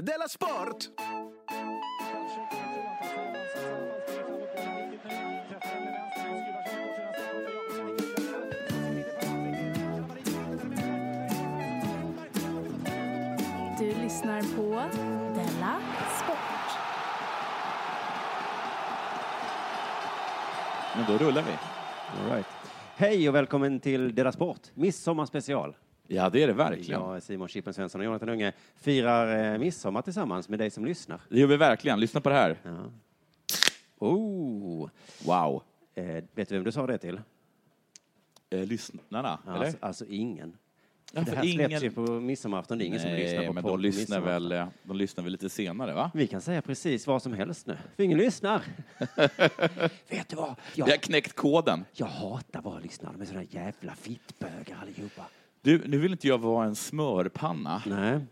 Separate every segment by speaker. Speaker 1: Della Sport!
Speaker 2: Du lyssnar på Della Sport.
Speaker 3: Men då rullar vi.
Speaker 4: All right. Hej och välkommen till Deras Sport, midsommarspecial.
Speaker 3: Ja, det är det verkligen.
Speaker 4: Jag, Simon Chippen Svensson och Jonathan Unge firar eh, midsommar tillsammans med dig som lyssnar.
Speaker 3: Det gör vi verkligen. Lyssna på det här.
Speaker 4: Oh.
Speaker 3: Wow.
Speaker 4: Eh, vet du vem du sa det till?
Speaker 3: Eh, lyssnarna, eller?
Speaker 4: Alltså, alltså ingen.
Speaker 3: Ja,
Speaker 4: det
Speaker 3: för
Speaker 4: här
Speaker 3: ingen-
Speaker 4: släpps ju på midsommarafton, det är ingen som
Speaker 3: Nej,
Speaker 4: lyssnar på
Speaker 3: men
Speaker 4: podd
Speaker 3: de
Speaker 4: på
Speaker 3: lyssnar,
Speaker 4: midsommar.
Speaker 3: väl, eh, de lyssnar väl lite senare, va?
Speaker 4: Vi kan säga precis vad som helst nu, för ingen lyssnar. vet du vad?
Speaker 3: Vi
Speaker 4: Jag,
Speaker 3: har knäckt koden.
Speaker 4: jag hatar våra lyssnare, de är sådana jävla fittbögar allihopa.
Speaker 3: Du, nu vill inte jag vara en smörpanna,
Speaker 4: Nej.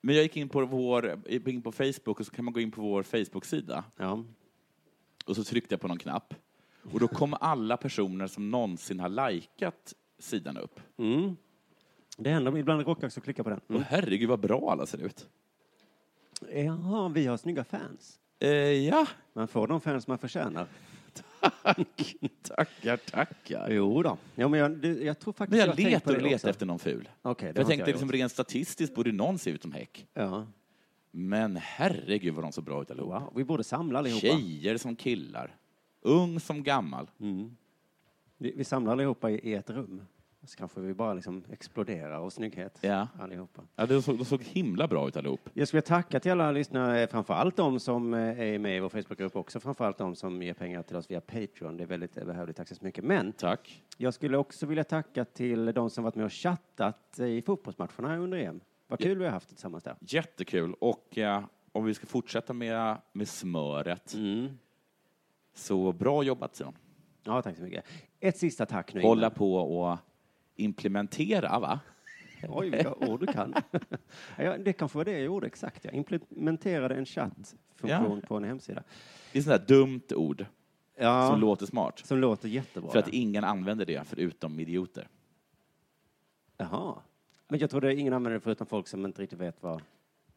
Speaker 3: men jag gick in på, vår, gick in på Facebook och så kan man gå in på vår Facebook-sida
Speaker 4: Ja.
Speaker 3: och så tryckte jag på någon knapp och då kom alla personer som någonsin har likat sidan upp.
Speaker 4: Det händer, ibland råkar jag också klicka på den.
Speaker 3: Och herregud vad bra alla ser ut.
Speaker 4: Jaha, vi har snygga fans.
Speaker 3: Eh, ja,
Speaker 4: Man får de fans man förtjänar.
Speaker 3: tackar, tackar.
Speaker 4: Jo då. Ja, men jag, det, jag tror faktiskt
Speaker 3: Men jag,
Speaker 4: har tänkt på
Speaker 3: letar och
Speaker 4: det också.
Speaker 3: letar efter någon ful.
Speaker 4: Okej, det
Speaker 3: jag
Speaker 4: har inte
Speaker 3: tänkte
Speaker 4: jag
Speaker 3: liksom
Speaker 4: gjort.
Speaker 3: rent statistiskt borde någon se ut som Häck.
Speaker 4: Ja.
Speaker 3: Men herregud vad de såg bra ut allihopa.
Speaker 4: Wow, vi borde samla allihopa.
Speaker 3: Tjejer som killar. Ung som gammal.
Speaker 4: Vi, vi samlar allihopa i, i ett rum. Så kanske vi bara liksom exploderar av snygghet.
Speaker 3: Ja.
Speaker 4: Allihopa.
Speaker 3: Ja, de, såg, de såg himla bra ut allihop.
Speaker 4: Jag skulle vilja tacka till alla lyssnare, eh, framförallt de som eh, är med i vår Facebookgrupp också, framförallt de som ger pengar till oss via Patreon. Det är väldigt eh, behövligt, tack så mycket. Men
Speaker 3: Tack.
Speaker 4: jag skulle också vilja tacka till de som varit med och chattat eh, i fotbollsmatcherna under EM. Vad kul vi har haft tillsammans där.
Speaker 3: Jättekul. Och eh, om vi ska fortsätta med, med smöret. Så bra jobbat Simon.
Speaker 4: Ja, tack så mycket. Ett sista tack nu.
Speaker 3: Hålla på och implementera va?
Speaker 4: Oj, vilka ord du kan. ja, det kanske var det jag gjorde exakt. Jag implementerade en chattfunktion på en hemsida.
Speaker 3: Det är sånt där dumt ord
Speaker 4: Ja,
Speaker 3: som låter smart.
Speaker 4: som låter jättebra.
Speaker 3: För att ingen använder det förutom idioter.
Speaker 4: Jaha. Men jag trodde ingen använde det förutom folk som inte riktigt vet vad,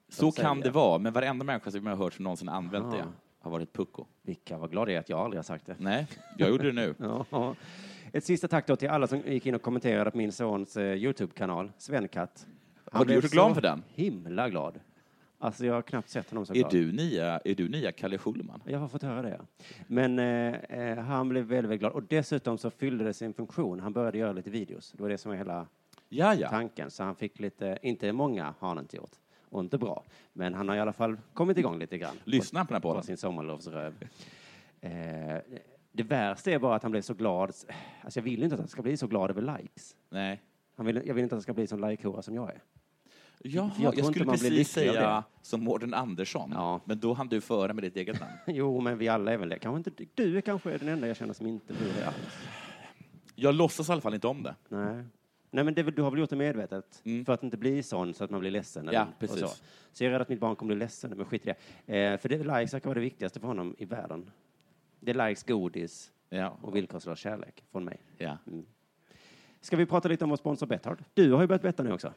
Speaker 3: Så
Speaker 4: säger
Speaker 3: kan det
Speaker 4: jag.
Speaker 3: vara, men varenda människa som jag har hört som någonsin använt
Speaker 4: Ah.
Speaker 3: det har varit pucko.
Speaker 4: vilka var glada är att jag aldrig har sagt det.
Speaker 3: Nej, jag gjorde det nu.
Speaker 4: Ja. Ett sista tack då till alla som gick in och kommenterade på min sons eh, Youtube-kanal, Svenkatt.
Speaker 3: Har du
Speaker 4: blev
Speaker 3: gjort
Speaker 4: så
Speaker 3: reklam för den?
Speaker 4: himla glad. Alltså jag har knappt sett honom så
Speaker 3: Är
Speaker 4: glad.
Speaker 3: du nya, är du nya Kalle Schulman?
Speaker 4: Jag har fått höra det. ja. Men eh, eh, han blev väldigt, väldigt glad. Och dessutom så fyllde det sin funktion. Han började göra lite videos. Det var det som var hela
Speaker 3: Ja, ja.
Speaker 4: tanken. Så han fick lite, inte många har han inte gjort. Och inte bra. Men han har i alla fall kommit igång lite grann.
Speaker 3: Lyssna på den här
Speaker 4: På, på
Speaker 3: podden.
Speaker 4: sin sommarlovsröv. eh, det värsta är bara att han blev så glad. Alltså jag vill inte att han ska bli så glad över likes.
Speaker 3: Nej.
Speaker 4: Han vill, jag vill inte att han ska bli så like som jag är.
Speaker 3: Jaha,
Speaker 4: tror
Speaker 3: jag,
Speaker 4: inte
Speaker 3: skulle
Speaker 4: man blir
Speaker 3: precis
Speaker 4: lycklig av
Speaker 3: säga som Mårten Andersson,
Speaker 4: Ja.
Speaker 3: men då hann du före med ditt eget namn.
Speaker 4: Jo, men vi alla är väl det. Kanske inte, du är kanske den enda jag känner som inte blir det alls.
Speaker 3: Jag låtsas i alla fall inte om det.
Speaker 4: Nej. Nej, men det, är väl- du har väl gjort det medvetet? För att inte bli sån så att man blir ledsen? eller-
Speaker 3: Mm. Ja,
Speaker 4: och
Speaker 3: precis.
Speaker 4: Så. så jag är rädd att mitt barn kommer bli ledsen, men skit i det. Eh, för det, likes verkar vara det viktigaste för honom i världen. Det är likes, godis
Speaker 3: Ja.
Speaker 4: och villkorslös kärlek från mig.
Speaker 3: Ja.
Speaker 4: Ska vi prata lite om vår sponsor Betthard? Du har ju börjat betta nu också.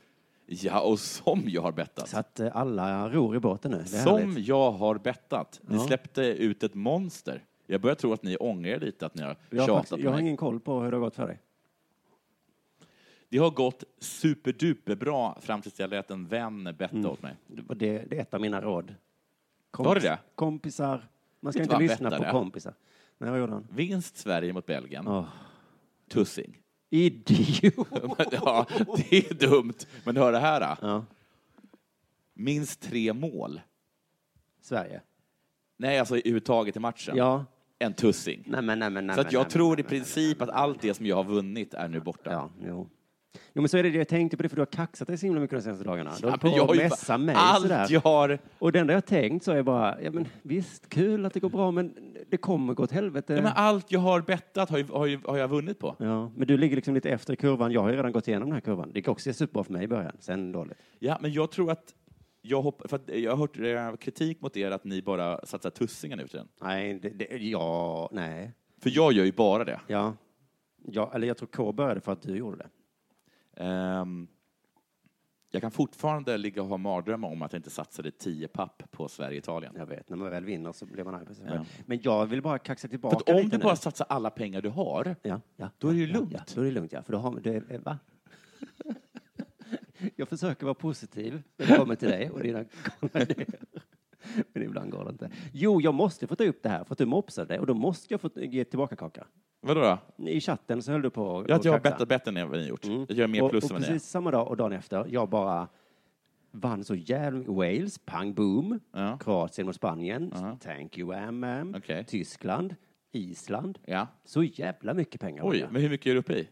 Speaker 3: ja, och som jag har
Speaker 4: Så
Speaker 3: bettat.
Speaker 4: att eh, alla ror i båten nu. Det är
Speaker 3: Som
Speaker 4: härligt.
Speaker 3: jag har bettat. Ni släppte ut ett monster. Jag börjar tro att ni ångrar lite att ni har
Speaker 4: jag, har
Speaker 3: tjatat
Speaker 4: faktiskt,
Speaker 3: på
Speaker 4: jag har
Speaker 3: mig.
Speaker 4: ingen koll på hur det har gått för dig.
Speaker 3: Det har gått superduperbra fram tills jag lät en vän betta
Speaker 4: Mm.
Speaker 3: åt mig.
Speaker 4: Det, var det, det är ett av mina råd. Kompis,
Speaker 3: Var det det?
Speaker 4: Kompisar. Man ska
Speaker 3: Vet du
Speaker 4: inte
Speaker 3: vad han
Speaker 4: lyssna på
Speaker 3: bettade?
Speaker 4: kompisar. Nej, vad gjorde han?
Speaker 3: Vinst Sverige mot Belgien.
Speaker 4: Åh.
Speaker 3: Tussing.
Speaker 4: Idiot!
Speaker 3: ja, det är dumt. Men hör det här. Då.
Speaker 4: Ja.
Speaker 3: Minst tre mål.
Speaker 4: Sverige.
Speaker 3: Nej, alltså i uttaget i matchen.
Speaker 4: Ja.
Speaker 3: En tussing.
Speaker 4: Nej, men, nej, men, nej,
Speaker 3: Så att
Speaker 4: men,
Speaker 3: jag
Speaker 4: nej,
Speaker 3: tror
Speaker 4: men,
Speaker 3: i princip att allt det som jag har vunnit är nu borta.
Speaker 4: Ja, jo. Jo, men så är det det. Jag tänkte på det, för du har kaxat dig så himla mycket de senaste dagarna. Du
Speaker 3: Ja,
Speaker 4: håller
Speaker 3: men jag
Speaker 4: på
Speaker 3: har
Speaker 4: att
Speaker 3: ju
Speaker 4: mässa mig
Speaker 3: allt
Speaker 4: sådär.
Speaker 3: jag har...
Speaker 4: Och det enda jag tänkt så är bara, ja men visst, kul att det går bra, men det kommer gå åt helvete.
Speaker 3: Ja, men allt jag har bettat har, ju, har, ju, har jag vunnit på.
Speaker 4: Ja, men du ligger liksom lite efter i kurvan. Jag har ju redan gått igenom den här kurvan. Det gick också superbra för mig i början, sen dåligt.
Speaker 3: Ja, men jag tror att... Jag, hopp, för att jag har hört eh, kritik mot er att ni bara satsar tussingen nu för tiden.
Speaker 4: Nej, det, det, ja, nej.
Speaker 3: För jag gör ju bara det.
Speaker 4: Ja. ja. Eller jag tror K började för att du gjorde det.
Speaker 3: Ehm, jag kan fortfarande ligga och ha mardrömmar om att jag inte satsade 10 papp på Sverige-Italien.
Speaker 4: Jag vet, när man väl vinner så blir man arg på sig
Speaker 3: Ja.
Speaker 4: själv. Men jag vill bara kaxa
Speaker 3: För
Speaker 4: tillbaka
Speaker 3: att om
Speaker 4: lite
Speaker 3: du
Speaker 4: nu.
Speaker 3: bara satsar alla pengar du har,
Speaker 4: Ja, ja,
Speaker 3: då är det ju
Speaker 4: ja,
Speaker 3: lugnt.
Speaker 4: Ja, då är det lugnt, ja. För då har man, det, är- eh, va? jag försöker vara positiv när det kommer till dig och dina galna idéer. Men ibland går det inte. Jo, jag måste få ta upp det här för att du mopsade och då måste jag få ge tillbaka kaka.
Speaker 3: vadå då?
Speaker 4: I chatten så höll du på och-
Speaker 3: Ja, att jag har
Speaker 4: och kaxa.
Speaker 3: bettat bättre än vad ni gjort.
Speaker 4: Mm.
Speaker 3: Jag gör mer
Speaker 4: och,
Speaker 3: plus
Speaker 4: och
Speaker 3: än vad ni gör.
Speaker 4: precis samma dag och dagen efter, jag bara vann så jävla Wales, pang boom.
Speaker 3: Ja.
Speaker 4: Kroatien mot Spanien,
Speaker 3: Ja.
Speaker 4: thank you MM.
Speaker 3: Okej.
Speaker 4: Tyskland, Island.
Speaker 3: Ja.
Speaker 4: Så jävla mycket pengar. var
Speaker 3: Oj,
Speaker 4: det.
Speaker 3: men hur mycket är du uppe i?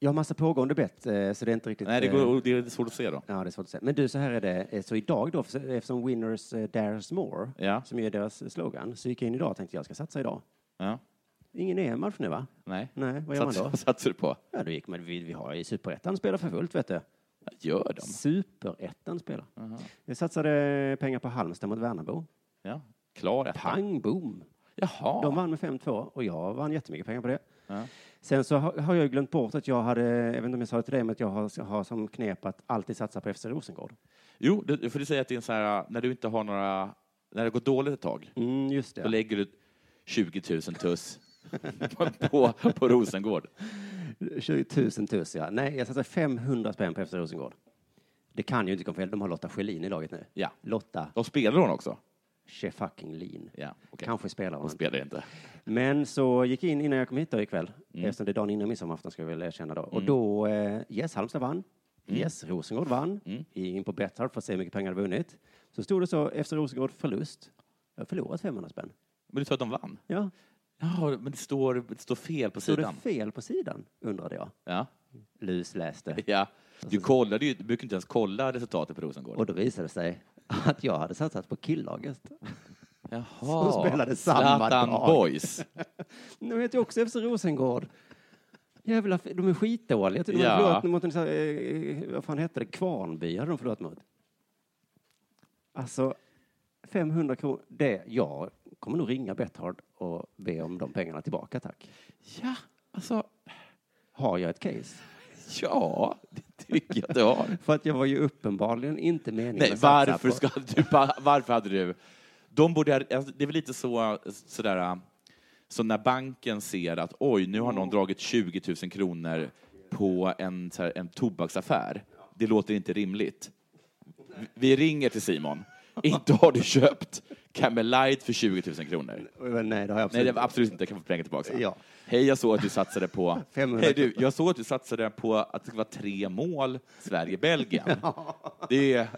Speaker 4: Jag har massa pågående bett, eh, så det är inte riktigt...
Speaker 3: Nej, det,
Speaker 4: eh,
Speaker 3: går, det är svårt att se då.
Speaker 4: Ja, det är svårt att säga. Men du, så här är det. Eh, Så idag då, för- eftersom Winners eh, Dares More,
Speaker 3: Ja.
Speaker 4: som är deras slogan, så gick jag in idag och tänkte jag ska satsa idag.
Speaker 3: Ja.
Speaker 4: Ingen EM-match nu, va?
Speaker 3: Nej.
Speaker 4: Nej, vad gör man
Speaker 3: Sats-
Speaker 4: då?
Speaker 3: Vad satsar du på?
Speaker 4: Ja, då gick man, vi, vi har i Superettan spelar för fullt, vet du.
Speaker 3: Vad gör de?
Speaker 4: Superettan spelar. Jag satsade pengar på Halmstad mot Värnamo.
Speaker 3: Ja. Klar etta.
Speaker 4: Pang, boom!
Speaker 3: Jaha.
Speaker 4: De vann med 5-2 och jag vann jättemycket pengar på det.
Speaker 3: Ja.
Speaker 4: Sen så har har jag ju glömt bort att jag hade, jag vet inte om jag sa det till dig, men att jag har, har som knep att alltid satsa på FC Rosengård.
Speaker 3: Jo, du får du säga att det är en så här, när du inte har några, när det går dåligt ett tag,
Speaker 4: Mm, just
Speaker 3: då lägger du 20 000 tuss på, på, på Rosengård.
Speaker 4: 20 000 tuss, ja. Nej, jag satsar 500 spänn på FC Rosengård. Det kan ju inte komma fel. De har Lotta Schelin i laget nu.
Speaker 3: Ja.
Speaker 4: Lotta
Speaker 3: De spelar hon också?
Speaker 4: Schefucking-Lin.
Speaker 3: Ja, okej.
Speaker 4: Kanske spelar
Speaker 3: De
Speaker 4: hon.
Speaker 3: spelar inte.
Speaker 4: Men så gick jag in innan jag kom hit då ikväll,
Speaker 3: Mm.
Speaker 4: eftersom det är dagen innan midsommarafton ska jag väl erkänna då. Och då, eh, yes, Halmstad vann.
Speaker 3: Mm.
Speaker 4: Yes, Rosengård vann. In på Betthard för att se hur mycket pengar de vunnit. Så stod det så, efter Rosengård förlust. Jag har förlorat 500 spänn.
Speaker 3: Men du sa att de vann?
Speaker 4: Ja,
Speaker 3: Ja, men det står, det står fel på
Speaker 4: stod det
Speaker 3: sidan.
Speaker 4: fel på sidan, undrade jag.
Speaker 3: Ja.
Speaker 4: Lusläste.
Speaker 3: ja. Du, kollade ju, du brukar inte ens kolla resultatet på
Speaker 4: Och
Speaker 3: Rosengård.
Speaker 4: då visade det sig att jag hade satsat på killaget.
Speaker 3: Jaha.
Speaker 4: som spelade samma
Speaker 3: Zlatan
Speaker 4: dag.
Speaker 3: Boys.
Speaker 4: De heter ju också FC Rosengård. Jävla, f- de är skitdåliga. De har
Speaker 3: Ja.
Speaker 4: förlorat mot en, sån här, eh, vad fan hette det, Kvarnby hade de förlorat mot. Alltså, 500 kronor. Det, jag kommer nog ringa Betthard och be om de pengarna tillbaka, tack.
Speaker 3: Ja, alltså,
Speaker 4: Har jag ett case?
Speaker 3: ja, det tycker jag att du har.
Speaker 4: För att jag var ju uppenbarligen inte meningen
Speaker 3: Nej,
Speaker 4: att satsa
Speaker 3: varför,
Speaker 4: på-
Speaker 3: ska du, varför hade du... De borde, ha- alltså, det är väl lite så, sådär, äh, så när banken ser att oj, nu har
Speaker 4: Mm.
Speaker 3: någon dragit 20 000 kronor på en, så här, en tobaksaffär. Det låter inte rimligt. Vi ringer till Simon. Inte har du köpt Camel Light för 20 000 kronor.
Speaker 4: Eh, Nej, det
Speaker 3: Nej,
Speaker 4: har jag absolut
Speaker 3: det var absolut inte. Jag kan få pengar tillbaka.
Speaker 4: Ja.
Speaker 3: Hej, jag såg att du satsade på...
Speaker 4: 500.
Speaker 3: Hej, du, jag såg att du satsade på att det skulle vara tre mål Sverige-Belgien. Det, är-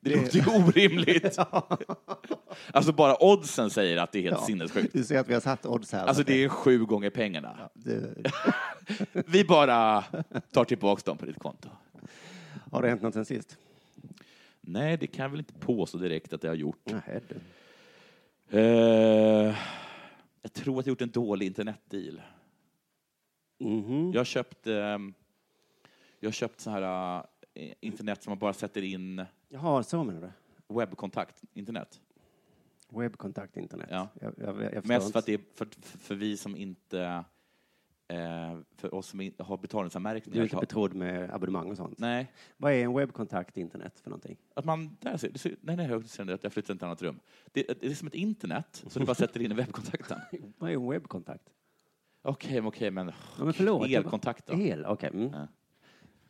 Speaker 3: det låter ju orimligt. Alltså, bara oddsen säger att det är helt sinnessjukt.
Speaker 4: Du ser att vi har satt odds här.
Speaker 3: Alltså, det är sju gånger pengarna.
Speaker 4: Du,
Speaker 3: Vi bara tar tillbaka dem på ditt konto.
Speaker 4: har det hänt något sen sist?
Speaker 3: Nej, det kan jag väl inte påstå direkt att jag har gjort.
Speaker 4: Nej, du.
Speaker 3: Eh, jag tror att jag gjort en dålig internetdeal.
Speaker 4: Mhm.
Speaker 3: Jag har köpt, ehm, jag har köpt så här eh, internet som man bara sätter in
Speaker 4: Jaha, så menar du?
Speaker 3: webbkontakt, internet.
Speaker 4: Webbkontakt internet.
Speaker 3: Ja.
Speaker 4: Jag, jag, jag förstår
Speaker 3: Mest för
Speaker 4: inte.
Speaker 3: att det är för, för vi som inte, eh, för oss som inte har
Speaker 4: Du
Speaker 3: betalningsanmärkningar.
Speaker 4: är inte
Speaker 3: så har-
Speaker 4: betrodd med abonnemang och sånt?
Speaker 3: nej,
Speaker 4: Vad är en webbkontakt internet för någonting?
Speaker 3: att man, där ser, det ser, nej, nej, jag ser att jag flyttar till ett annat rum. Det, det är som ett internet, så du bara sätter in i webbkontakten.
Speaker 4: Vad är en webbkontakt?
Speaker 3: Okej, men okej, men...
Speaker 4: Ja, men förlåt.
Speaker 3: Elkontakt då?
Speaker 4: El, okej. Mm.
Speaker 3: Ja.
Speaker 4: Oj,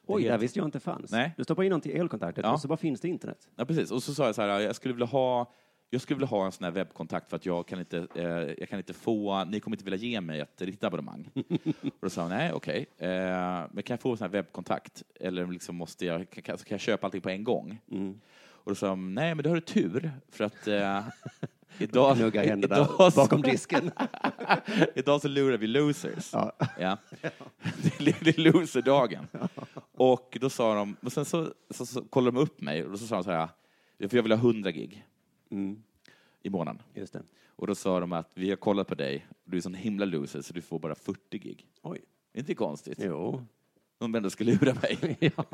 Speaker 4: det
Speaker 3: Helt-
Speaker 4: här visste jag inte fanns.
Speaker 3: Nej.
Speaker 4: Du stoppar in någonting i elkontakten
Speaker 3: Ja.
Speaker 4: och så bara finns det internet.
Speaker 3: Ja, precis. Och så sa jag så här, jag skulle vilja ha, jag skulle vilja ha en sån här webbkontakt för att jag kan inte, eh, jag kan inte få, ni kommer inte vilja ge mig ett riktigt abonnemang. och då sa hon, nej okej, eh, men kan jag få en sån här webbkontakt? Eller liksom måste jag, kan, kan kan jag köpa allting på en gång?
Speaker 4: Mm.
Speaker 3: Och då sa hon, nej men då har du tur för att eh, idag,
Speaker 4: Knugga händerna
Speaker 3: idag,
Speaker 4: bakom
Speaker 3: så,
Speaker 4: disken.
Speaker 3: idag så lurar vi losers.
Speaker 4: Ja.
Speaker 3: Ja. Det är- det är loserdagen. Och då sa de, och sen så, så, så kollade de upp mig och då så sa de så här, för jag vill ha 100 gig
Speaker 4: Mm.
Speaker 3: i månaden.
Speaker 4: Just det.
Speaker 3: Och då sa de att vi har kollat på dig, du är sån himla loser så du får bara 40 gig.
Speaker 4: Oj.
Speaker 3: Är inte det konstigt?
Speaker 4: Jo.
Speaker 3: De ändå ska lura mig.
Speaker 4: ja.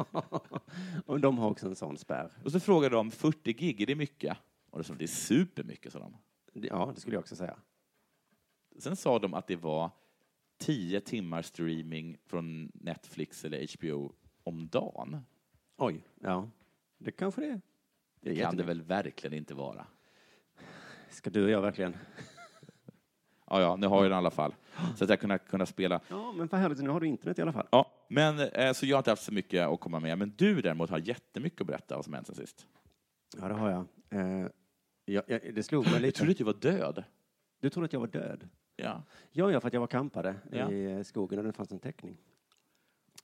Speaker 4: Och de har också en sån spärr.
Speaker 3: Och så frågade de, 40 gig, är det mycket? Och då sa de, det är supermycket, sa de.
Speaker 4: Ja, det skulle jag också säga.
Speaker 3: Sen sa de att det var 10 timmar streaming från Netflix eller HBO om dagen.
Speaker 4: Oj. Ja. Det kanske det är. Det är
Speaker 3: Det kan det
Speaker 4: jättemycket.
Speaker 3: väl verkligen inte vara?
Speaker 4: Ska du och jag verkligen?
Speaker 3: Ja, ja, nu har jag den i alla fall. Så att jag kunna, kunna spela.
Speaker 4: Ja, men vad härligt. Nu har du internet i alla fall.
Speaker 3: Ja, men, eh, så jag har inte haft så mycket att komma med. Men du däremot har jättemycket att berätta vad som hänt sen sist.
Speaker 4: Ja, det har jag. Eh, ja, ja, det slog mig
Speaker 3: Jag
Speaker 4: lite.
Speaker 3: trodde att du var död.
Speaker 4: Du trodde att jag var död?
Speaker 3: Ja.
Speaker 4: Ja, ja, för att jag var kampare
Speaker 3: Ja.
Speaker 4: i eh, skogen och det fanns en täckning.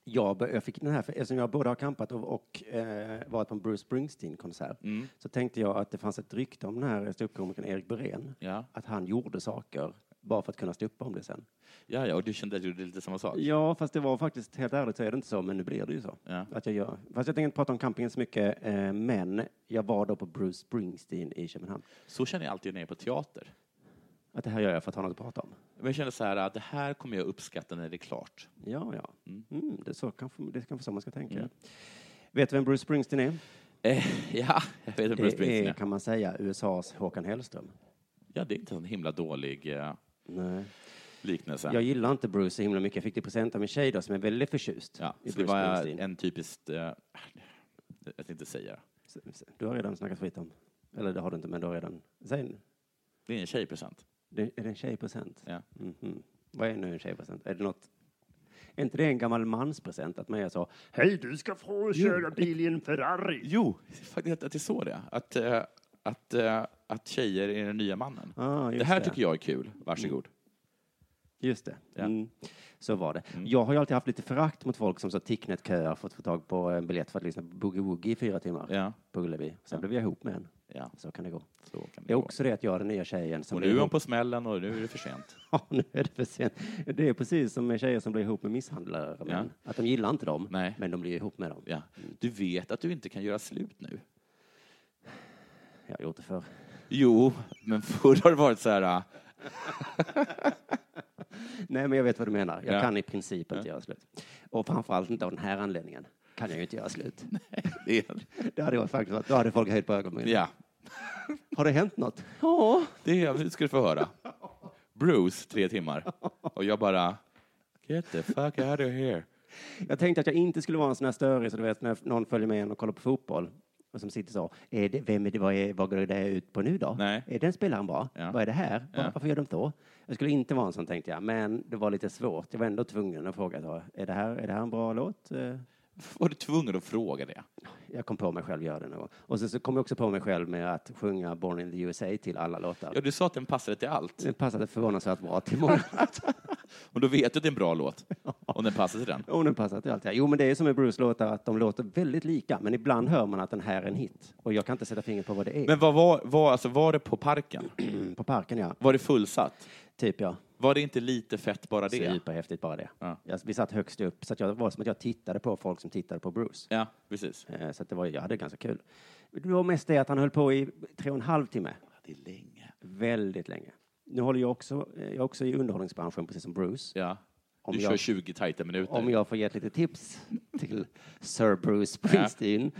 Speaker 4: Jag, bör- jag fick den här, för eftersom jag både har kampat och, och eh, varit på en Bruce Springsteen-konsert, så tänkte jag att det fanns ett rykte om den här ståuppkomikern Erik Berén,
Speaker 3: Ja.
Speaker 4: att han gjorde saker bara för att kunna stå upp om det sen.
Speaker 3: ja, ja, och du kände att du gjorde lite samma sak.
Speaker 4: Ja, fast det var faktiskt, helt ärligt så är det inte så, men nu blir det ju så.
Speaker 3: Ja.
Speaker 4: Att jag gör. Fast jag tänkte inte prata om campingen så mycket, eh, men jag var då på Bruce Springsteen i Köpenhamn.
Speaker 3: Så känner jag alltid när jag är på teater.
Speaker 4: Att det här gör jag för att ha något att prata om.
Speaker 3: Men jag känner så här, att det här kommer jag uppskatta när det är klart.
Speaker 4: Ja, ja. Mm, det, är så kanske, det är kanske så man ska tänka.
Speaker 3: Mm.
Speaker 4: Vet du vem Bruce Springsteen är?
Speaker 3: Eh, ja, jag vet inte Bruce Springsteen
Speaker 4: det är,
Speaker 3: är.
Speaker 4: kan man säga, USAs Håkan Hellström.
Speaker 3: Ja, det är inte en himla dålig eh,
Speaker 4: Nej.
Speaker 3: liknelse.
Speaker 4: Jag gillar inte Bruce så himla mycket. Jag fick det i present av min tjej då, som är väldigt förtjust
Speaker 3: ja,
Speaker 4: i
Speaker 3: så det
Speaker 4: Bruce
Speaker 3: var
Speaker 4: Springsteen.
Speaker 3: en typisk... Eh, jag tänkte inte säga det.
Speaker 4: Du har redan snackat skit om... Eller det har du inte, men du har redan... Säg, nu.
Speaker 3: Det är en tjejpresent.
Speaker 4: det, är det en tjejpresent?
Speaker 3: Ja.
Speaker 4: Mhm. Vad är nu en tjejpresent? Är det något... Är inte det en gammal manspresent? Att man gör så... Hej, du ska få köra bil i en Ferrari!
Speaker 3: Jo, faktiskt att- att det är så det är. Att, eh, att, eh, att tjejer är den nya mannen.
Speaker 4: Ah, just
Speaker 3: det här
Speaker 4: det. Mm.
Speaker 3: tycker jag är kul. Varsågod.
Speaker 4: Just det.
Speaker 3: Ja.
Speaker 4: Mm. Så var det.
Speaker 3: Mm.
Speaker 4: Jag har ju alltid haft lite förakt mot folk som så Ticknet-köar för att få tag på en biljett för att lyssna på boogie-woogie i fyra timmar
Speaker 3: Ja.
Speaker 4: på Ullevi. Sen blev jag ihop med en.
Speaker 3: Ja.
Speaker 4: Så kan det gå.
Speaker 3: Så kan
Speaker 4: Det
Speaker 3: det
Speaker 4: är
Speaker 3: gå.
Speaker 4: också det att jag är den nya tjejen som
Speaker 3: Och
Speaker 4: blir
Speaker 3: nu är hon
Speaker 4: ihop.
Speaker 3: på smällen och nu är det för sent.
Speaker 4: Ja, nu är det för sent. Det är precis som med tjejer som blir ihop med misshandlare. Men Att de gillar inte dem,
Speaker 3: Nej.
Speaker 4: men de blir ihop med dem.
Speaker 3: Ja. Du vet att du inte kan göra slut nu.
Speaker 4: Jag har gjort det förr.
Speaker 3: Jo, men förr har det varit så här... ah,
Speaker 4: Nej, men jag vet vad du menar. Jag
Speaker 3: Ja.
Speaker 4: kan i princip inte göra slut. Och framförallt inte av den här anledningen kan jag ju inte göra slut.
Speaker 3: det är-
Speaker 4: Det hade varit faktiskt varit- då hade folk höjt på ögonbrynen.
Speaker 3: Ja,
Speaker 4: Har det hänt något? Ja.
Speaker 3: det är, nu ska du få höra. Bruce, tre timmar. Och jag bara... Get the fuck out of here.
Speaker 4: Jag tänkte att jag inte skulle vara en sån här störig, så du vet när någon följer med en och kollar på fotboll och som sitter så. Är det, vem är det, vad, är, vad går det här ut på nu då?
Speaker 3: Nej.
Speaker 4: Är den spelaren bra?
Speaker 3: Ja.
Speaker 4: Vad är det här? Var,
Speaker 3: Ja.
Speaker 4: Varför gör de så? Jag skulle inte vara en sån tänkte jag, men det var lite svårt. Jag var ändå tvungen att fråga. Så, är, det här, är det här en bra låt? Eh,
Speaker 3: Var du tvungen att fråga det?
Speaker 4: Jag kom på mig själv göra det någon gång. Och sen så kom jag också på mig själv med att sjunga Born in the USA till alla låtar.
Speaker 3: Ja, du sa att den passade till allt.
Speaker 4: Det passade förvånansvärt bra till många.
Speaker 3: Och då vet du att det är en bra låt. Om den passar till den.
Speaker 4: Jo, den passar till allt. ja. Jo, men det är som med Bruce låtar, att de låter väldigt lika, men ibland hör man att den här är en hit. Och jag kan inte sätta fingret på vad det är.
Speaker 3: Men vad var, var, alltså, var det på parken?
Speaker 4: Mm, på parken, ja.
Speaker 3: Var det fullsatt?
Speaker 4: Typ, ja.
Speaker 3: Var det inte lite fett bara det?
Speaker 4: Superhäftigt bara det.
Speaker 3: Ja.
Speaker 4: Jag, vi satt högst upp, så att jag, det var som att jag tittade på folk som tittade på Bruce.
Speaker 3: Ja, precis.
Speaker 4: Eh, Så att det var, jag hade ganska kul. Det var mest det att han höll på i tre och en halv timme.
Speaker 3: Det är länge.
Speaker 4: Väldigt länge. Nu håller jag också, eh, jag är också i underhållningsbranschen, precis som Bruce.
Speaker 3: Ja.
Speaker 4: Om
Speaker 3: Du
Speaker 4: jag-
Speaker 3: kör 20 tajta minuter.
Speaker 4: Om jag får ge ett litet tips till Sir Bruce Springsteen.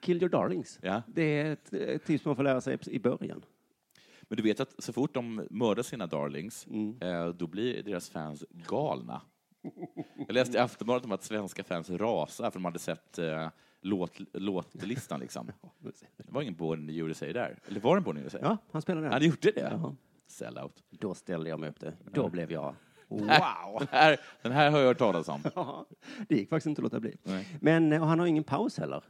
Speaker 4: Kill your darlings.
Speaker 3: Ja.
Speaker 4: Det är ett, ett tips man får lära sig i början.
Speaker 3: Men du vet att så fort de mördar sina darlings, eh, då blir deras fans galna. Jag läste i Aftonbladet om att svenska fans rasar för de hade sett eh, låt, låtlistan. Liksom. Det var ingen Born in USA där. Eller var det en Born in USA?
Speaker 4: Ja, han spelar
Speaker 3: Han
Speaker 4: den.
Speaker 3: gjorde det?
Speaker 4: Ja.
Speaker 3: Sellout.
Speaker 4: Då ställde jag mig upp det. Då blev jag Wow!
Speaker 3: Den här, den här har jag hört talas om.
Speaker 4: Ja, det gick faktiskt inte att låta bli.
Speaker 3: Nej.
Speaker 4: Men eh, och han har ingen paus heller,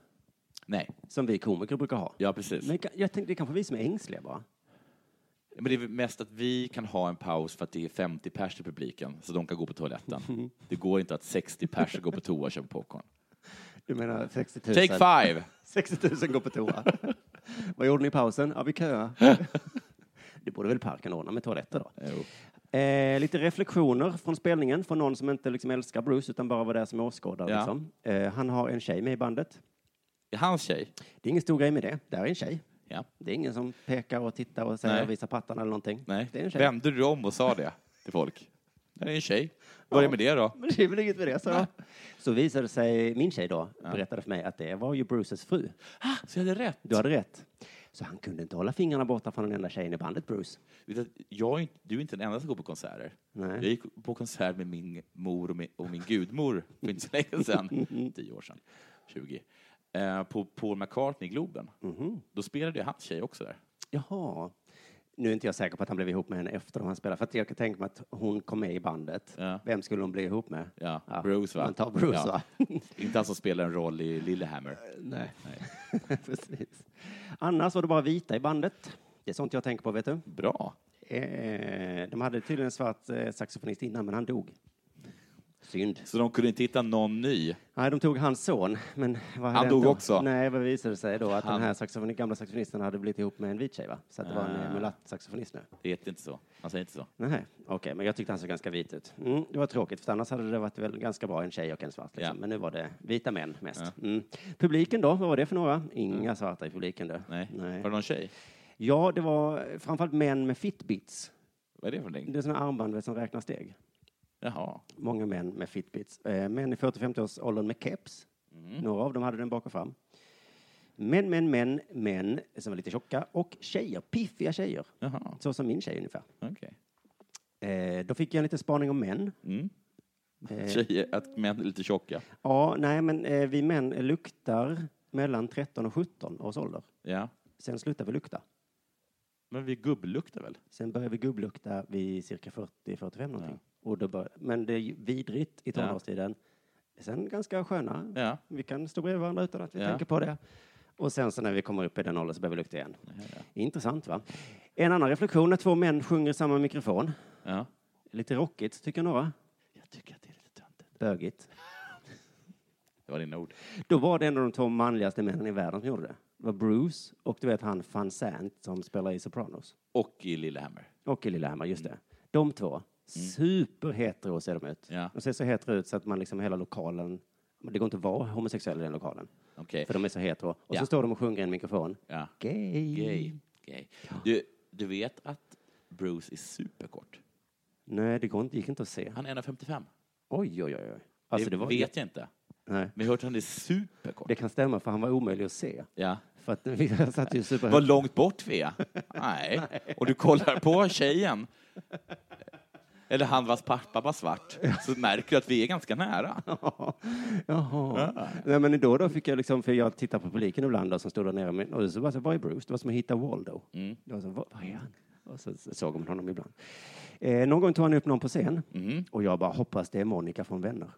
Speaker 3: Nej,
Speaker 4: som vi komiker brukar ha.
Speaker 3: ja precis.
Speaker 4: Men ka- jag tänkte, det är kanske vi som är ängsliga bara.
Speaker 3: Men det är väl mest att vi kan ha en paus för att det är 50 pers i publiken, så de kan gå på toaletten. Det går inte att 60 pers går på toa och köper popcorn.
Speaker 4: Du menar 60 000?
Speaker 3: Take five!
Speaker 4: 60 000 går på toa. Vad gjorde ni i pausen? Ja, vi köade. det borde väl parken ordna med toaletter då?
Speaker 3: Jo.
Speaker 4: Eh, lite reflektioner från spelningen från någon som inte liksom älskar Bruce utan bara var där som åskådare.
Speaker 3: Ja.
Speaker 4: Liksom. Eh, han har en tjej med i bandet.
Speaker 3: Det är Hans tjej.
Speaker 4: Det är ingen stor grej med det. Där är en tjej.
Speaker 3: Ja.
Speaker 4: Det är ingen som pekar och tittar och säger
Speaker 3: Nej.
Speaker 4: visa pattarna eller någonting.
Speaker 3: Nej.
Speaker 4: Det är en tjej.
Speaker 3: Vände du om och sa det till folk? Det är en tjej. Vad är det med det då?
Speaker 4: Men det är väl inget med det, så. Så visade det sig, min tjej då, berättade för mig att det var ju Bruces fru.
Speaker 3: Ah, så jag hade rätt.
Speaker 4: Du hade rätt. Så han kunde inte hålla fingrarna borta från den enda tjejen i bandet, Bruce.
Speaker 3: Vet du att Jag är, inte- du är inte den enda som går på konserter.
Speaker 4: Nej.
Speaker 3: Jag gick på konsert med min mor och min, och min gudmor för inte så länge sedan. Tio år sedan. 20. Eh, på Paul McCartney i Globen. Då spelade ju hans tjej också där.
Speaker 4: Jaha. Nu är inte jag säker på att han blev ihop med henne efter att han spelade. För att jag kan tänka mig att hon kom med i bandet.
Speaker 3: Ja.
Speaker 4: Vem skulle hon bli ihop med?
Speaker 3: Ja, Bruce va?
Speaker 4: Man tar Bruce
Speaker 3: Ja.
Speaker 4: va?
Speaker 3: Inte han som spelar en roll i Lillehammer.
Speaker 4: Nej. Precis. Annars var det bara vita i bandet. Det är sånt jag tänker på, vet du.
Speaker 3: Bra.
Speaker 4: Eh, de hade tydligen en svart eh, saxofonist innan, men han dog. Synd.
Speaker 3: Så de kunde inte hitta någon ny.
Speaker 4: Nej, de tog hans son. Men vad
Speaker 3: Han
Speaker 4: hade
Speaker 3: dog
Speaker 4: hänt då?
Speaker 3: också.
Speaker 4: Nej, vad visade det sig då? Att
Speaker 3: Han-
Speaker 4: den här saxofon, gamla saxofonisten hade blivit ihop med en vit tjej, va? Så att det var en
Speaker 3: Ah.
Speaker 4: eh, mulatt-saxofonist nu.
Speaker 3: Det heter inte så. Han säger inte så.
Speaker 4: Nej, okej, men jag tyckte han såg ganska vit ut. Mm, det var tråkigt, för annars hade det varit väl ganska bra en tjej och en svart. Liksom.
Speaker 3: Ja.
Speaker 4: Men nu var det vita män mest. Mm. Publiken då, vad var det för några? Inga svarta i publiken då.
Speaker 3: Mm. Nej. Var det någon tjej?
Speaker 4: Ja, det var framförallt män med fitbits.
Speaker 3: Vad är det för någonting?
Speaker 4: Det är sådana armband vet, som räknar steg.
Speaker 3: Jaha.
Speaker 4: Många män med fitbits. Eh, män i 40-50-årsåldern med keps. Några av dem hade den bak och fram. Män, män, män, män som var lite tjocka och tjejer, piffiga tjejer.
Speaker 3: Jaha.
Speaker 4: Så som min tjej ungefär.
Speaker 3: Okej.
Speaker 4: Eh, då fick jag en liten spaning om män.
Speaker 3: Mm. Tjejer, att män är lite tjocka.
Speaker 4: Ja, nej, men eh, vi män luktar mellan 13 och 17 års ålder.
Speaker 3: Ja.
Speaker 4: Sen slutar vi lukta.
Speaker 3: Men vi gubbluktar väl?
Speaker 4: Sen börjar vi gubblukta vid cirka 40-45 någonting. Och då bör, men det är ju vidrigt i tonårstiden. Sen ganska sköna.
Speaker 3: Ja.
Speaker 4: Vi kan stå bredvid varandra utan att vi
Speaker 3: Ja.
Speaker 4: tänker på det. Och sen så när vi kommer upp i den åldern så börjar vi lukta igen. Intressant va? En annan reflektion när två män sjunger i samma mikrofon.
Speaker 3: Ja.
Speaker 4: Lite rockigt tycker några.
Speaker 3: Jag tycker att det är lite töntigt.
Speaker 4: Bögigt.
Speaker 3: Det var dina ord.
Speaker 4: Då var det en av de två manligaste männen i världen som gjorde det. Det var Bruce och du vet han Van Sant som spelar i Sopranos.
Speaker 3: Och i Lillehammer.
Speaker 4: Och i Lillehammer, just
Speaker 3: Mm.
Speaker 4: det. De två. Superhetero ser de ut.
Speaker 3: Ja.
Speaker 4: De ser så hetero ut så att man liksom hela lokalen, det går inte att vara homosexuell i den lokalen.
Speaker 3: Okej.
Speaker 4: För de är så hetero. Och
Speaker 3: Ja.
Speaker 4: så står de och sjunger i en mikrofon.
Speaker 3: Ja.
Speaker 4: Gay.
Speaker 3: Gay. Gay. Du, du vet att Bruce är superkort?
Speaker 4: Nej, det går inte, gick inte att se.
Speaker 3: Han är 1,55.
Speaker 4: Oj, oj, oj. oj.
Speaker 3: det,
Speaker 4: Alltså, det, var,
Speaker 3: vet jag inte.
Speaker 4: nej.
Speaker 3: Men jag har hört att han är superkort.
Speaker 4: det kan stämma för han var omöjlig att se.
Speaker 3: Ja.
Speaker 4: För att vi satt ju
Speaker 3: Vad
Speaker 4: superhögt.
Speaker 3: långt bort vi är. Nej. Och du kollar på tjejen. Eller han vars pappa var svart. Så märker du att vi är ganska nära.
Speaker 4: Jaha. Nej, men då och då fick jag liksom, för jag tittar på publiken ibland då, som stod där nere med, och så bara så, var är Bruce? Det var som att hitta Waldo.
Speaker 3: Mm.
Speaker 4: Det var så, var, var är han? Och så, så såg man honom ibland. Eh, någon gång tog han upp någon på scen och jag bara hoppas det är Monica från Vänner.
Speaker 3: Mm.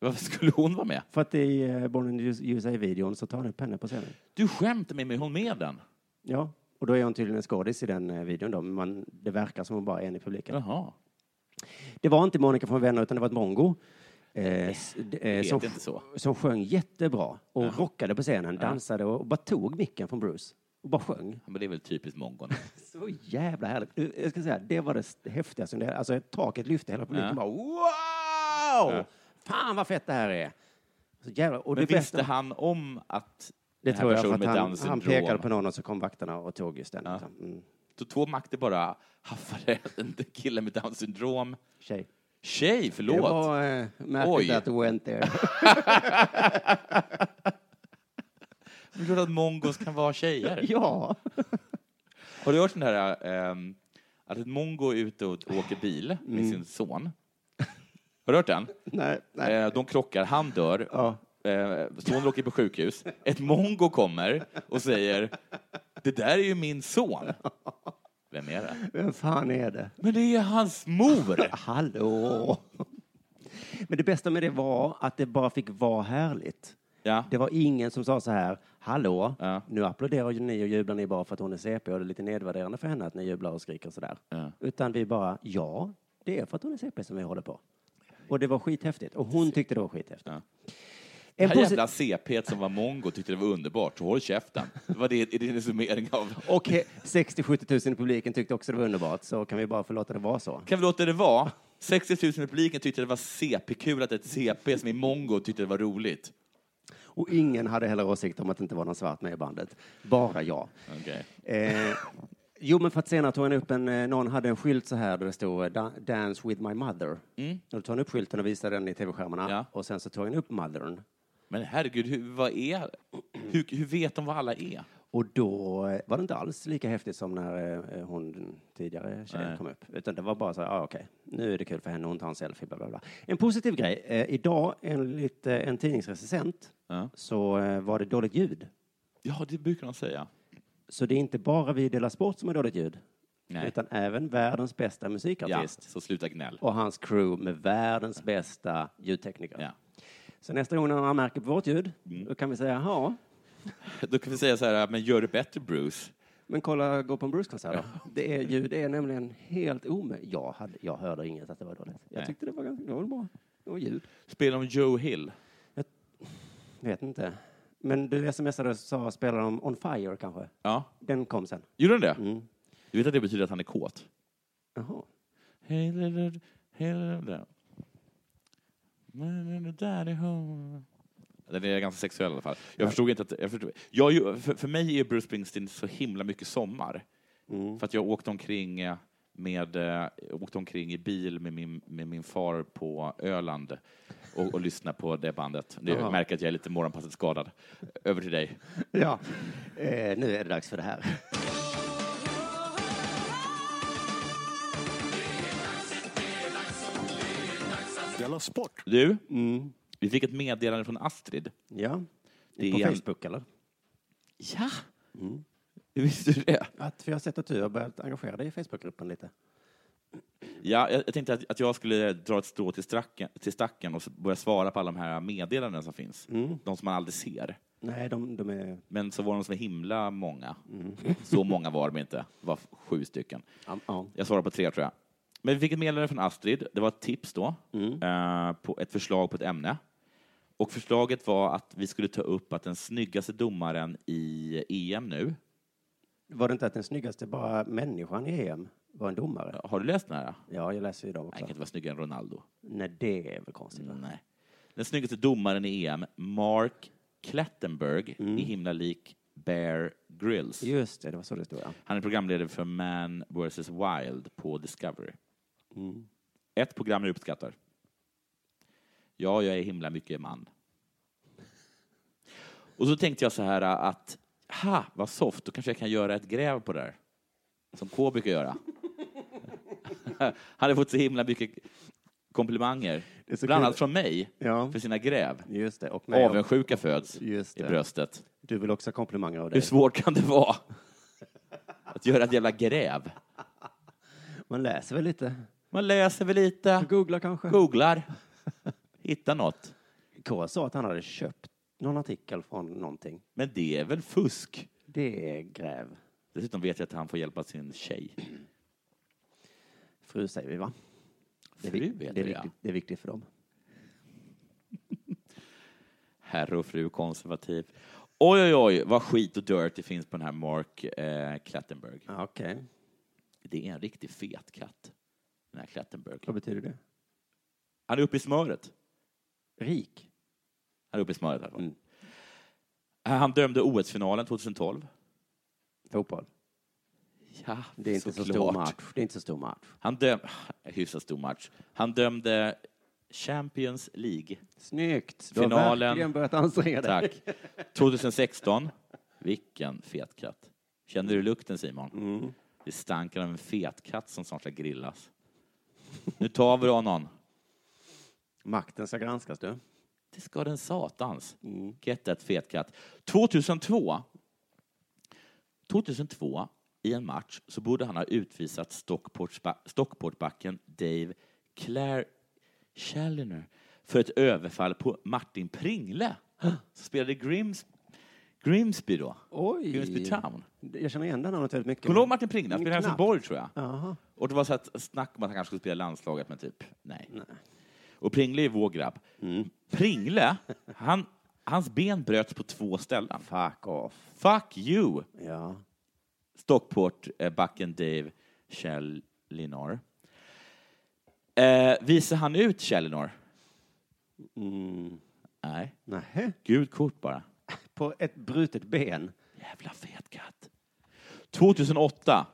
Speaker 3: Varför skulle hon vara med?
Speaker 4: För att i eh, Born in USA-videon så tar han upp henne på scenen.
Speaker 3: Du skämtar med mig, hon med den?
Speaker 4: Ja, och då är hon tydligen en skådis i den eh, videon då, men man, det verkar som hon bara är en i publiken.
Speaker 3: Jaha.
Speaker 4: Det var inte Monica från Vänner utan det var ett mongo. Eh, s- d- eh,
Speaker 3: vet
Speaker 4: som,
Speaker 3: inte så.
Speaker 4: som sjöng jättebra och rockade på scenen, dansade och, och bara tog micken från Bruce och bara sjöng.
Speaker 3: Men det är väl typiskt mongon.
Speaker 4: Så jävla härligt. Eh, Jag ska säga, det var det s- häftigaste. Det- Alltså taket lyfte hela publiken bara wow! Fan vad fett det här är! Så jävla, och
Speaker 3: Men
Speaker 4: det bästa-
Speaker 3: visste han om att
Speaker 4: det
Speaker 3: den här
Speaker 4: tror jag för
Speaker 3: personen
Speaker 4: att
Speaker 3: med
Speaker 4: han,
Speaker 3: Downs
Speaker 4: han
Speaker 3: syndrom-
Speaker 4: pekade på någon och så kom vakterna och tog just den. Liksom. Mm,
Speaker 3: Så två makter bara haffade en kille med Downs syndrom.
Speaker 4: tjej.
Speaker 3: Tjej, förlåt.
Speaker 4: Det var eh,
Speaker 3: Oj.
Speaker 4: märkligt att du went there.
Speaker 3: Det är klart att mongos kan vara tjejer.
Speaker 4: ja!
Speaker 3: Har du hört den här ehm, att ett mongo är ute och åker bil med
Speaker 4: Mm.
Speaker 3: sin son? Har du hört den?
Speaker 4: Nej, nej.
Speaker 3: Eh, de krockar, han dör.
Speaker 4: Ja.
Speaker 3: Eh, sonen åker på sjukhus. Ett mongo kommer och säger Det där är ju min son. Vem är det?
Speaker 4: Vem fan är det?
Speaker 3: Men det är hans mor!
Speaker 4: Hallå! Men det bästa med det var att det bara fick vara härligt.
Speaker 3: Ja.
Speaker 4: Det var ingen som sa så här, hallå,
Speaker 3: Ja.
Speaker 4: nu applåderar ju ni och jublar ni bara för att hon är CP och det är lite nedvärderande för henne att ni jublar och skriker sådär.
Speaker 3: Ja.
Speaker 4: Utan vi bara, ja, det är för att hon är CP som vi håller på. Och det var skithäftigt. Och hon tyckte det var skithäftigt.
Speaker 3: Ja. det
Speaker 4: En
Speaker 3: här
Speaker 4: posi-
Speaker 3: jävla CP som var mongo tyckte det var underbart, så håll käften. Det var det, det är din summering av...
Speaker 4: och he- 60-70 000 i publiken tyckte också det var underbart, så kan vi bara förlåta det vara så.
Speaker 3: Kan vi låta det vara? 60 000 i publiken tyckte det var CP-kul att ett CP som är mongo tyckte det var roligt.
Speaker 4: Och ingen hade heller åsikt om att det inte var någon svart med i bandet. Bara jag.
Speaker 3: Okej.
Speaker 4: Eh, jo, men för att senare tog han upp en, eh, någon hade en skylt så här där det stod eh, "Da- Dance with my mother. Och då tog han upp skylten och visade den i tv-skärmarna
Speaker 3: Mm. Ja.
Speaker 4: och sen så tog han upp mothern.
Speaker 3: Men herregud, hur, vad är... Hur, hur vet de vad alla är?
Speaker 4: Och då eh, var det inte alls lika häftigt som när eh, hon den tidigare tjejen kom upp. Utan det var bara så här, ah, okej, nu är det kul för henne, hon tar en selfie, bla bla bla. En positiv grej, eh, idag enligt eh, en tidningsrecensent
Speaker 3: Ja.
Speaker 4: så eh, var det dåligt ljud.
Speaker 3: Ja, det brukar de säga.
Speaker 4: Så det är inte bara vi i Della Sport som har dåligt ljud.
Speaker 3: Nej.
Speaker 4: Utan även världens bästa
Speaker 3: Ja,
Speaker 4: musikartist.
Speaker 3: så sluta gnäll.
Speaker 4: och hans crew med världens bästa ljudtekniker.
Speaker 3: Ja.
Speaker 4: Så nästa gång när han märker på vårt ljud, då kan vi säga ja,
Speaker 3: Då kan vi säga så här, men gör det bättre Bruce.
Speaker 4: men kolla, gå på en Bruce-konsert då. Det är, ljud är nämligen helt omöjligt. Jag, hade- jag hörde inget att det var dåligt. Jag
Speaker 3: Nej.
Speaker 4: tyckte det var ganska det var bra. Det var ljud.
Speaker 3: Spelar de Joe Hill?
Speaker 4: Vet inte. Men du smsade och sa, spelar de On Fire kanske?
Speaker 3: Ja.
Speaker 4: Den kom sen.
Speaker 3: Gjorde han det? Mm. Du vet att det betyder att han är kåt?
Speaker 4: Jaha.
Speaker 3: Hey little, hey little, my little daddy home. Den är ganska sexuell i alla fall. Jag förstod inte att... Jag förstod, jag, är ju- för, för mig är Bruce Springsteen så himla mycket sommar.
Speaker 4: Mm.
Speaker 3: För att jag åkte omkring eh, med, eh, åkte omkring i bil med min, med min far på Öland och, och lyssnade på det bandet. Nu
Speaker 4: Jaha.
Speaker 3: märker jag att jag är lite morgonpasset skadad. Över till dig.
Speaker 4: Ja. Eh, nu är det dags för det här.
Speaker 1: Della Sport.
Speaker 3: Du,
Speaker 4: Mm.
Speaker 3: vi fick ett meddelande från Astrid.
Speaker 4: Ja.
Speaker 3: Det
Speaker 4: på
Speaker 3: är en-
Speaker 4: Facebook eller?
Speaker 3: Ja! Hur visste du det?
Speaker 4: Att vi har sett att du har börjat engagera dig i Facebookgruppen lite.
Speaker 3: Ja, jag, jag tänkte att, att jag skulle dra ett strå till, stracken, till stacken och så börja svara på alla de här meddelanden som finns. De som man aldrig ser.
Speaker 4: Nej, de, de är...
Speaker 3: Men så var de så himla många. Så många var de inte. Det var sju stycken.
Speaker 4: Ja, ja.
Speaker 3: Jag svarar på tre, tror jag. Men vi fick ett meddelande från Astrid. Det var ett tips då, eh, på ett förslag på ett ämne. Och förslaget var att vi skulle ta upp att den snyggaste domaren i EM nu...
Speaker 4: Var det inte att den snyggaste bara människan i EM var en domare?
Speaker 3: Har du läst den här? Nej,
Speaker 4: Ja, jag läser ju dem
Speaker 3: han
Speaker 4: också.
Speaker 3: kan inte vara snyggare än Ronaldo.
Speaker 4: Nej, det är väl konstigt. va?
Speaker 3: Nej. Den snyggaste domaren i EM, Mark Klettenberg, är himla lik Bear Grylls.
Speaker 4: Just det, det var så det stod, ja.
Speaker 3: Han är programledare för Man vs Wild på Discovery.
Speaker 4: Mm.
Speaker 3: Ett program jag uppskattar. Ja, jag är himla mycket man. Och så tänkte jag så här äh, att, ha, vad soft, då kanske jag kan göra ett gräv på det här. Som K brukar göra. Han hade fått så himla mycket komplimanger.
Speaker 4: är så
Speaker 3: Bland
Speaker 4: kul.
Speaker 3: annat från mig,
Speaker 4: Ja.
Speaker 3: för sina gräv.
Speaker 4: Just det. Och mig och-
Speaker 3: Avundsjuka föds
Speaker 4: Just
Speaker 3: i
Speaker 4: det.
Speaker 3: bröstet.
Speaker 4: Du vill också ha komplimanger av
Speaker 3: Hur
Speaker 4: dig.
Speaker 3: svårt kan det vara? Att göra ett jävla gräv.
Speaker 4: Man läser väl lite?
Speaker 3: Man läser väl lite,
Speaker 4: Googlar kanske?
Speaker 3: googlar, hittar något.
Speaker 4: K sa att han hade köpt någon artikel från någonting.
Speaker 3: Men det är väl fusk?
Speaker 4: Det är gräv.
Speaker 3: Dessutom vet jag att han får hjälp av sin tjej.
Speaker 4: Fru säger vi, va? Det är,
Speaker 3: Fru
Speaker 4: vik-
Speaker 3: heter
Speaker 4: det är,
Speaker 3: det, ja.
Speaker 4: viktigt, det är viktigt för dem.
Speaker 3: Herr och fru konservativ. Oj, oj, oj, vad skit och dirt det finns på den här Mark eh, Klattenberg.
Speaker 4: Ja, Okej.
Speaker 3: Det är en riktig fet katt, den här Klattenberg.
Speaker 4: Vad betyder det?
Speaker 3: Han är uppe i smöret.
Speaker 4: Rik.
Speaker 3: Han är uppe i smöret i alla fall.
Speaker 4: Mm.
Speaker 3: Han dömde OS-finalen 2012.
Speaker 4: Fotboll.
Speaker 3: Ja,
Speaker 4: Det är inte så, stor
Speaker 3: såklart.
Speaker 4: match. Det är inte så stor match.
Speaker 3: Han dömde... Hyfsat stor match. Han dömde Champions League.
Speaker 4: Snyggt. Du har
Speaker 3: Finalen.
Speaker 4: verkligen börjat anstränga dig.
Speaker 3: Tack. 2016. Vilken fet katt. Kände du lukten, Simon? Det stank av en fet katt som snart ska grillas. Nu tar vi honom.
Speaker 4: Makten ska granskas, du.
Speaker 3: Det ska den satans. Get that fet katt. 2002. 2002 i en match så borde han ha utvisat Stockportsba- Stockportbacken Dave Claire Challoner för ett överfall på Martin Pringle som spelade i Grims, Grimsby då.
Speaker 4: Oj.
Speaker 3: Grimsby Town.
Speaker 4: Jag känner igen det namnet väldigt mycket.
Speaker 3: Kommer du ihåg Martin Pringle? Han spelade i
Speaker 4: Knappt.
Speaker 3: Helsingborg tror jag.
Speaker 4: Jaha.
Speaker 3: Och det var så att snack om att han kanske skulle spela i landslaget, men typ nej. Och Pringle är vår grabb.
Speaker 4: Mm.
Speaker 3: Pringle, han, hans ben bröts på två ställen.
Speaker 4: Fuck off.
Speaker 3: Fuck you,
Speaker 4: Ja.
Speaker 3: Stockport-backen Dave Chellinor. Eh, visar han ut Chellinor?
Speaker 4: Mm.
Speaker 3: Nej.
Speaker 4: Nähä.
Speaker 3: Gult kort bara.
Speaker 4: På ett brutet ben.
Speaker 3: Jävla fet katt. 2008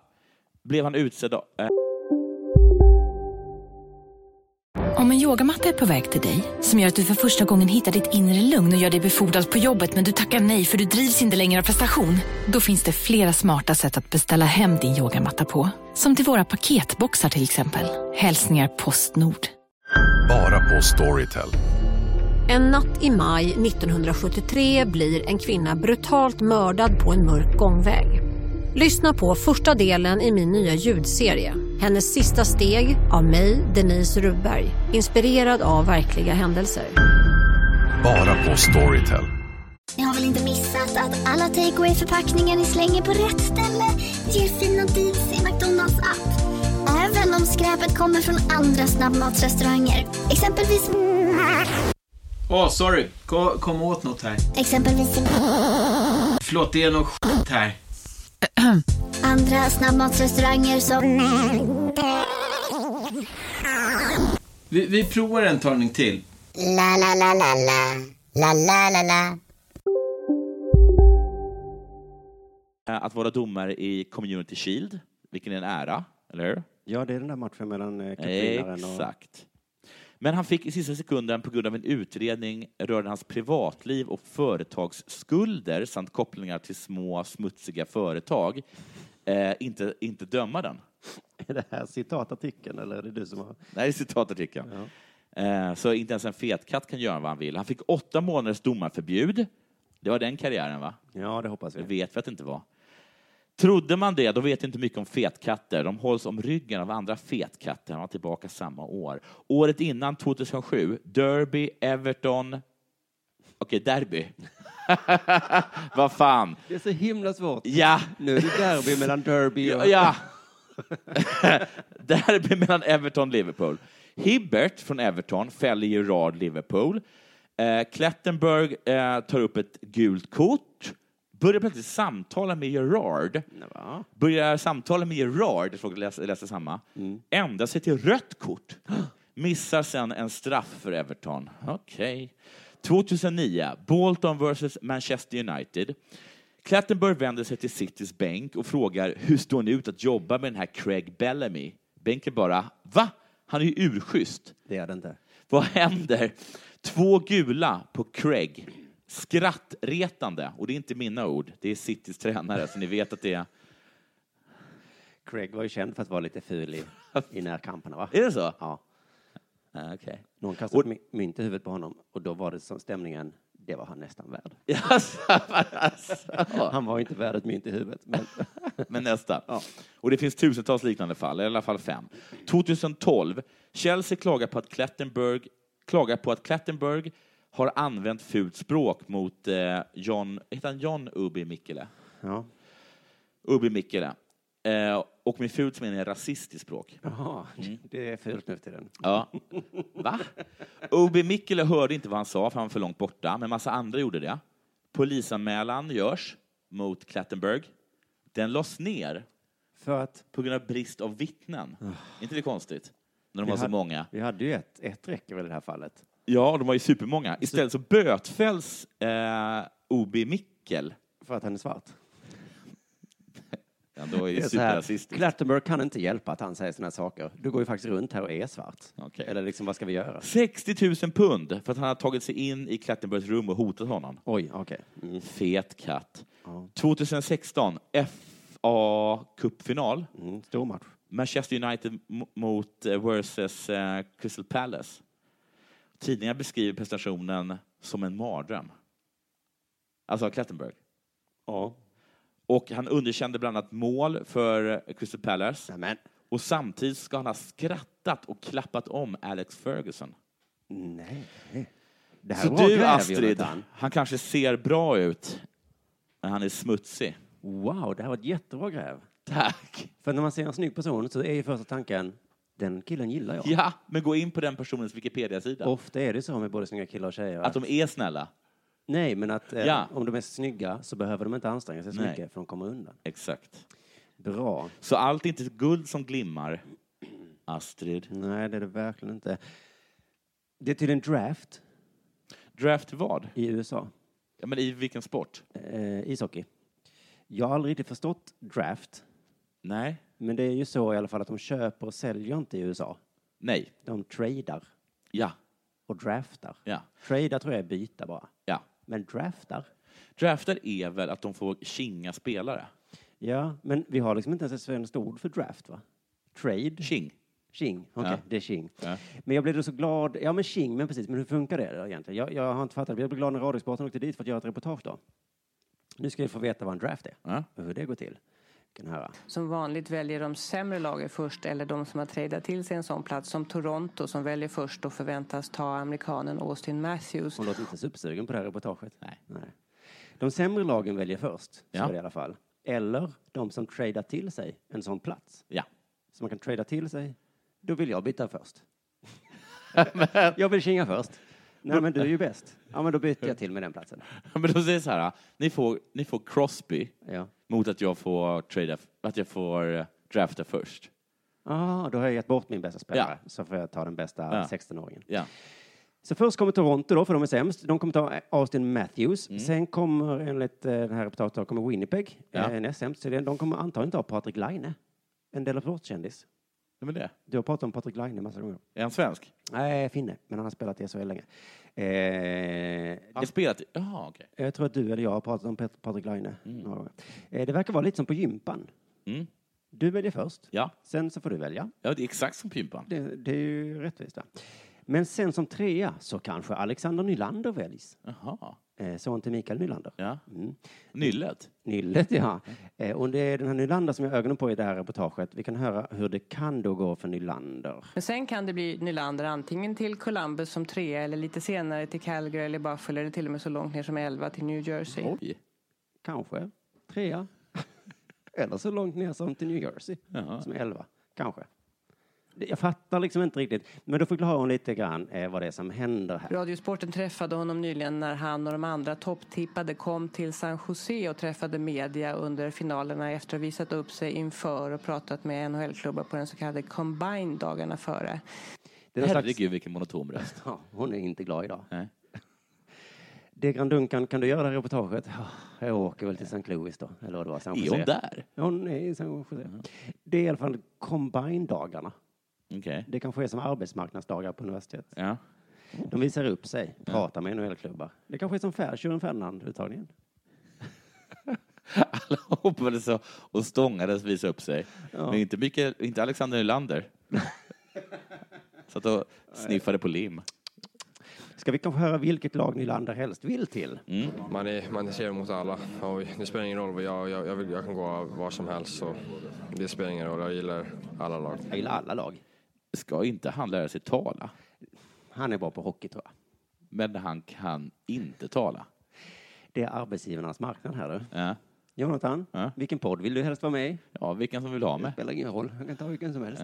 Speaker 3: blev han utsedd av- eh,
Speaker 5: Om en yogamatta är på väg till dig, som gör att du för första gången hittar ditt inre lugn och gör dig befordrad på jobbet men du tackar nej för du drivs inte längre av prestation. Då finns det flera smarta sätt att beställa hem din yogamatta på. Som till våra paketboxar till exempel. Hälsningar Postnord.
Speaker 1: Bara på Storytel.
Speaker 6: En natt i maj 1973 blir en kvinna brutalt mördad på en mörk gångväg. Lyssna på första delen i min nya ljudserie. Hennes sista steg av mig, Denise Rubberg. Inspirerad av verkliga händelser.
Speaker 1: Bara på Storytel.
Speaker 7: Ni har väl inte missat att alla takeaway förpackningar ni slänger på rätt ställe ger fina deals i McDonalds app. Även om skräpet kommer från andra snabbmatsrestauranger. Exempelvis...
Speaker 8: Åh, sorry. Kom, kom åt något här.
Speaker 7: Exempelvis...
Speaker 8: Förlåt, det är något skit här.
Speaker 7: Andra snabbmatsrestauranger som...
Speaker 8: Vi, vi provar en talning till.
Speaker 7: La, la, la, la, la. La, la, la, la.
Speaker 3: Eh, att vara domare i Community Shield, vilken är en ära, eller hur?
Speaker 4: Ja, det är den där matchen mellan eh, kaprinaren och...
Speaker 3: Exakt. Men han fick i sista sekunden på grund av en utredning rörande hans privatliv och företagsskulder samt kopplingar till små smutsiga företag eh, inte, inte döma den.
Speaker 4: Är det här citatartikeln eller är det du som har...
Speaker 3: Det här är citatartikeln. Eh, så inte ens en fetkatt kan göra vad han vill. Han fick åtta månaders domarförbud. Det var den karriären, va?
Speaker 4: Ja, det hoppas
Speaker 3: Det
Speaker 4: vi.
Speaker 3: vet vi att det inte var. Trodde man det, då vet jag inte mycket om fetkatter. De hålls om ryggen av andra fetkatter. Han var tillbaka samma år. Året innan, 2007, Derby, Everton... Okej, Derby. Vad fan.
Speaker 4: Det är så himla svårt.
Speaker 3: Ja.
Speaker 4: Nu är det derby mellan derby
Speaker 3: Ja.
Speaker 4: och...
Speaker 3: ja. Derby mellan Everton och Liverpool. Hibbert från Everton fäller Gerard Liverpool. Eh, Klettenberg eh, tar upp ett gult kort. Börjar plötsligt samtala med Gerard.
Speaker 4: Ja.
Speaker 3: Börjar samtala med Gerard, jag frågade- läste, läste samma, ändra sig till rött kort. Missar sen en straff för Everton. Okej. 2009, Bolton vs Manchester United. Clattenburg vänder sig till Citys bänk och frågar hur står ni ut att jobba med den här Craig Bellamy? Bänken bara, va? Han är ju urschysst.
Speaker 4: Det är det inte.
Speaker 3: Vad händer? Två gula på Craig. Skrattretande. Och det är inte mina ord, det är Citys tränare, så ni vet att det är...
Speaker 4: Craig var ju känd för att vara lite ful i, i närkamperna, va?
Speaker 3: Är det så?
Speaker 4: Ja.
Speaker 3: Ah, Okej.
Speaker 4: Någon kastade och... mynt i huvudet på honom och då var det som stämningen, det var han nästan värd.
Speaker 3: Jaså, alltså.
Speaker 4: Han var inte värd ett mynt i huvudet. Men...
Speaker 3: Men nästa. Och det finns tusentals liknande fall, i alla fall fem. 2012. Chelsea klagar på att Klettenberg, klagar på att Klettenberg har använt fult språk mot eh, John, heter han John Ubi Mikkele?
Speaker 4: ja.
Speaker 3: Ubi Mikkele. Eh, och med fult så menar jag rasistiskt språk.
Speaker 4: Jaha,
Speaker 3: Mm.
Speaker 4: det är fult nu till den.
Speaker 3: Ja. Va? Obi Mikkele hörde inte vad han sa, för han var för långt borta, men massa andra gjorde det. Polisanmälan görs mot Klattenberg. Den lades ner
Speaker 4: För att
Speaker 3: på grund av brist av vittnen. inte det konstigt? När de
Speaker 4: vi
Speaker 3: var så
Speaker 4: hade-
Speaker 3: många.
Speaker 4: Vi hade ju ett, ett räcker väl i det här fallet.
Speaker 3: Ja, och de var ju supermånga. Istället så bötfälls eh, Obi Mikkel.
Speaker 4: För att han är svart.
Speaker 3: Ja, då är
Speaker 4: Det
Speaker 3: ju
Speaker 4: är så här,
Speaker 3: superrasistiskt.
Speaker 4: Clattenburg kan inte hjälpa att han säger sådana här saker. Du går ju faktiskt runt här och är svart.
Speaker 3: Okej.
Speaker 4: Eller liksom, vad ska vi göra?
Speaker 3: 60 000 pund för att han har tagit sig in i Klattenbergs rum och hotat honom.
Speaker 4: Oj, okej. Mm.
Speaker 3: Fet katt. 2016, FA cupfinal.
Speaker 4: Mm. Stor match.
Speaker 3: Manchester United mo- mot eh, versus eh, Crystal Palace. Tidningar beskriver prestationen som en mardröm. Alltså Klettenberg.
Speaker 4: Ja.
Speaker 3: Och han underkände bland annat mål för Crystal Palace. Och samtidigt ska han ha skrattat och klappat om Alex Ferguson.
Speaker 4: Nej. Det här
Speaker 3: Så
Speaker 4: var
Speaker 3: du,
Speaker 4: gräv,
Speaker 3: Astrid,
Speaker 4: Jonathan.
Speaker 3: han kanske ser bra ut, men han är smutsig.
Speaker 4: Wow, det här var ett jättebra gräv.
Speaker 3: Tack.
Speaker 4: För när man ser en snygg person så är ju första tanken, den killen gillar jag.
Speaker 3: Ja, men gå in på den personens Wikipedia-sida.
Speaker 4: Ofta är det så med både snygga killar och tjejer.
Speaker 3: Att de är snälla.
Speaker 4: Nej, men att eh,
Speaker 3: Ja.
Speaker 4: om de är snygga så behöver de inte anstränga sig så
Speaker 3: Nej.
Speaker 4: mycket för de kommer undan.
Speaker 3: Exakt.
Speaker 4: Bra.
Speaker 3: Så allt är inte guld som glimmar, Astrid.
Speaker 4: Nej, det är det verkligen inte. Det är till en draft
Speaker 3: Draft vad?
Speaker 4: i USA,
Speaker 3: Ja, men I vilken sport?
Speaker 4: eh, ishockey. Jag har aldrig riktigt förstått draft,
Speaker 3: Nej.
Speaker 4: men det är ju så i alla fall att de köper och säljer inte i USA.
Speaker 3: Nej.
Speaker 4: De tradar
Speaker 3: Ja.
Speaker 4: och draftar.
Speaker 3: Ja.
Speaker 4: Tradar tror jag är byta bara.
Speaker 3: ja.
Speaker 4: Men draftar?
Speaker 3: Draftar är väl att de får kinga spelare?
Speaker 4: Ja, men vi har liksom inte ens ett svenskt ord för draft, va? Trade?
Speaker 3: King.
Speaker 4: Tjing, okej,
Speaker 3: Ja.
Speaker 4: det är tjing.
Speaker 3: Ja.
Speaker 4: Men jag blev då så glad, ja men tjing, men precis, men hur funkar det då egentligen? Jag, jag har inte fattat, jag blev glad när Radiosporten åkte dit för att göra ett reportage då. Nu ska vi få veta vad en draft är
Speaker 3: Ja.
Speaker 4: och hur det går till. Vi kan höra.
Speaker 9: Som vanligt väljer de sämre lagen först eller de som har tradat till sig en sån plats som Toronto som väljer först och förväntas ta amerikanen Austin Matthews.
Speaker 4: Hon låter inte supersugen på det här reportaget.
Speaker 3: Nej.
Speaker 4: De sämre lagen väljer först, så
Speaker 3: Ja.
Speaker 4: är det i alla fall. Eller de som tradar till sig en sån plats.
Speaker 3: Ja.
Speaker 4: Så man kan trada till sig, då vill jag byta först. jag vill tjinga först. Nej men du är ju bäst. Ja men då byter jag till med den platsen.
Speaker 3: Men de säger så här, ni får, ni får Crosby
Speaker 4: Ja.
Speaker 3: mot att jag får, trada, att jag får eh, drafta först.
Speaker 4: Ah, då har jag gett bort min bästa spelare,
Speaker 3: Ja.
Speaker 4: så får jag ta den bästa
Speaker 3: Ja.
Speaker 4: 16-åringen.
Speaker 3: Ja.
Speaker 4: Så först kommer Toronto då, för de är sämst. De kommer ta Austin Matthews.
Speaker 3: Mm.
Speaker 4: Sen kommer, enligt eh, den här reportaget, då kommer Winnipeg,
Speaker 3: Ja.
Speaker 4: eh, näst sämst. Så det- De kommer antagligen ta Patrik Laine, en Delaporte-kändis.
Speaker 3: Ja, men det.
Speaker 4: Du har pratat om Patrik Laine massa gånger.
Speaker 3: Är han svensk?
Speaker 4: Nej, finne, men han har spelat i SHL länge. Eh,
Speaker 3: Han har spelat i... Jaha, okej.
Speaker 4: jag tror att du eller jag har pratat om Pet- Patrik Laine några gånger. Eh, det verkar vara lite som på gympan.
Speaker 3: Mm.
Speaker 4: Du väljer först,
Speaker 3: Ja.
Speaker 4: sen så får du välja.
Speaker 3: ja, det är exakt som Pimpan.
Speaker 4: Det, det är ju rättvist. Va? Men sen som trea så kanske Alexander Nylander väljs.
Speaker 3: Jaha.
Speaker 4: Eh, son till Mikael Nylander.
Speaker 3: Ja.
Speaker 4: Mm.
Speaker 3: Nyllet?
Speaker 4: Nyllet, ja. Eh, och det är den här Nylander som jag har ögonen på i det här reportaget. Vi kan höra hur det kan då gå för Nylander.
Speaker 9: Men sen kan det bli Nylander antingen till Columbus som trea eller lite senare till Calgary eller Buffalo eller till och med så långt ner som elva till New Jersey.
Speaker 3: Oj.
Speaker 4: Kanske trea. Eller så långt ner som till New Jersey,
Speaker 3: Jaha.
Speaker 4: som elva. Kanske. Det- Jag fattar liksom inte riktigt. Men då förklarar hon lite grann eh, vad det är som händer här.
Speaker 9: Radiosporten träffade honom nyligen när han och de andra topptippade kom till San Jose och träffade media under finalerna efter att ha visat upp sig inför och pratat med NHL-klubbar på den så kallade Combine dagarna före.
Speaker 4: Det är någon slags-
Speaker 3: Herregud, vilken monotom röst.
Speaker 4: Ja, hon är inte glad idag.
Speaker 3: Nej.
Speaker 4: Det Grandunkan, kan du göra det här reportaget? Ja, Jag åker väl till St. Louis då, eller vad det var. San
Speaker 3: Är
Speaker 4: Jose.
Speaker 3: hon där?
Speaker 4: Hon är i San Jose.
Speaker 10: Mm.
Speaker 4: Det är i alla fall Combine-dagarna.
Speaker 3: Okej.
Speaker 4: Det kanske är som arbetsmarknadsdagar på universitet.
Speaker 3: Ja.
Speaker 4: De visar upp sig,
Speaker 10: Mm.
Speaker 4: pratar med NHL-klubbar. Det kanske är som Fairchiron Ferdinand-uttagningen.
Speaker 3: Alla hoppades och- och stångades visa upp sig. Men inte, Mikael, inte Alexander Nylander. Satt och sniffade på lim.
Speaker 4: Ska vi kanske höra vilket lag Nylander helst vill till?
Speaker 10: Mm. Man är, man är trevlig mot alla. Och det spelar ingen roll. vad Jag, jag, jag, vill, jag kan gå av var som helst. Så det spelar ingen roll. Jag gillar alla lag.
Speaker 4: Jag gillar alla lag.
Speaker 3: Ska inte han lära sig tala?
Speaker 4: Han är bra på hockey, tror jag.
Speaker 3: Men han kan inte tala.
Speaker 4: Det är arbetsgivarnas marknad här, du.
Speaker 3: Ja,
Speaker 4: Jonathan,
Speaker 3: Ja.
Speaker 4: vilken podd vill du helst vara med i?
Speaker 3: ja vilken som vill ha
Speaker 4: Det
Speaker 3: med.
Speaker 4: spelar ingen roll, jag kan ta vilken som helst.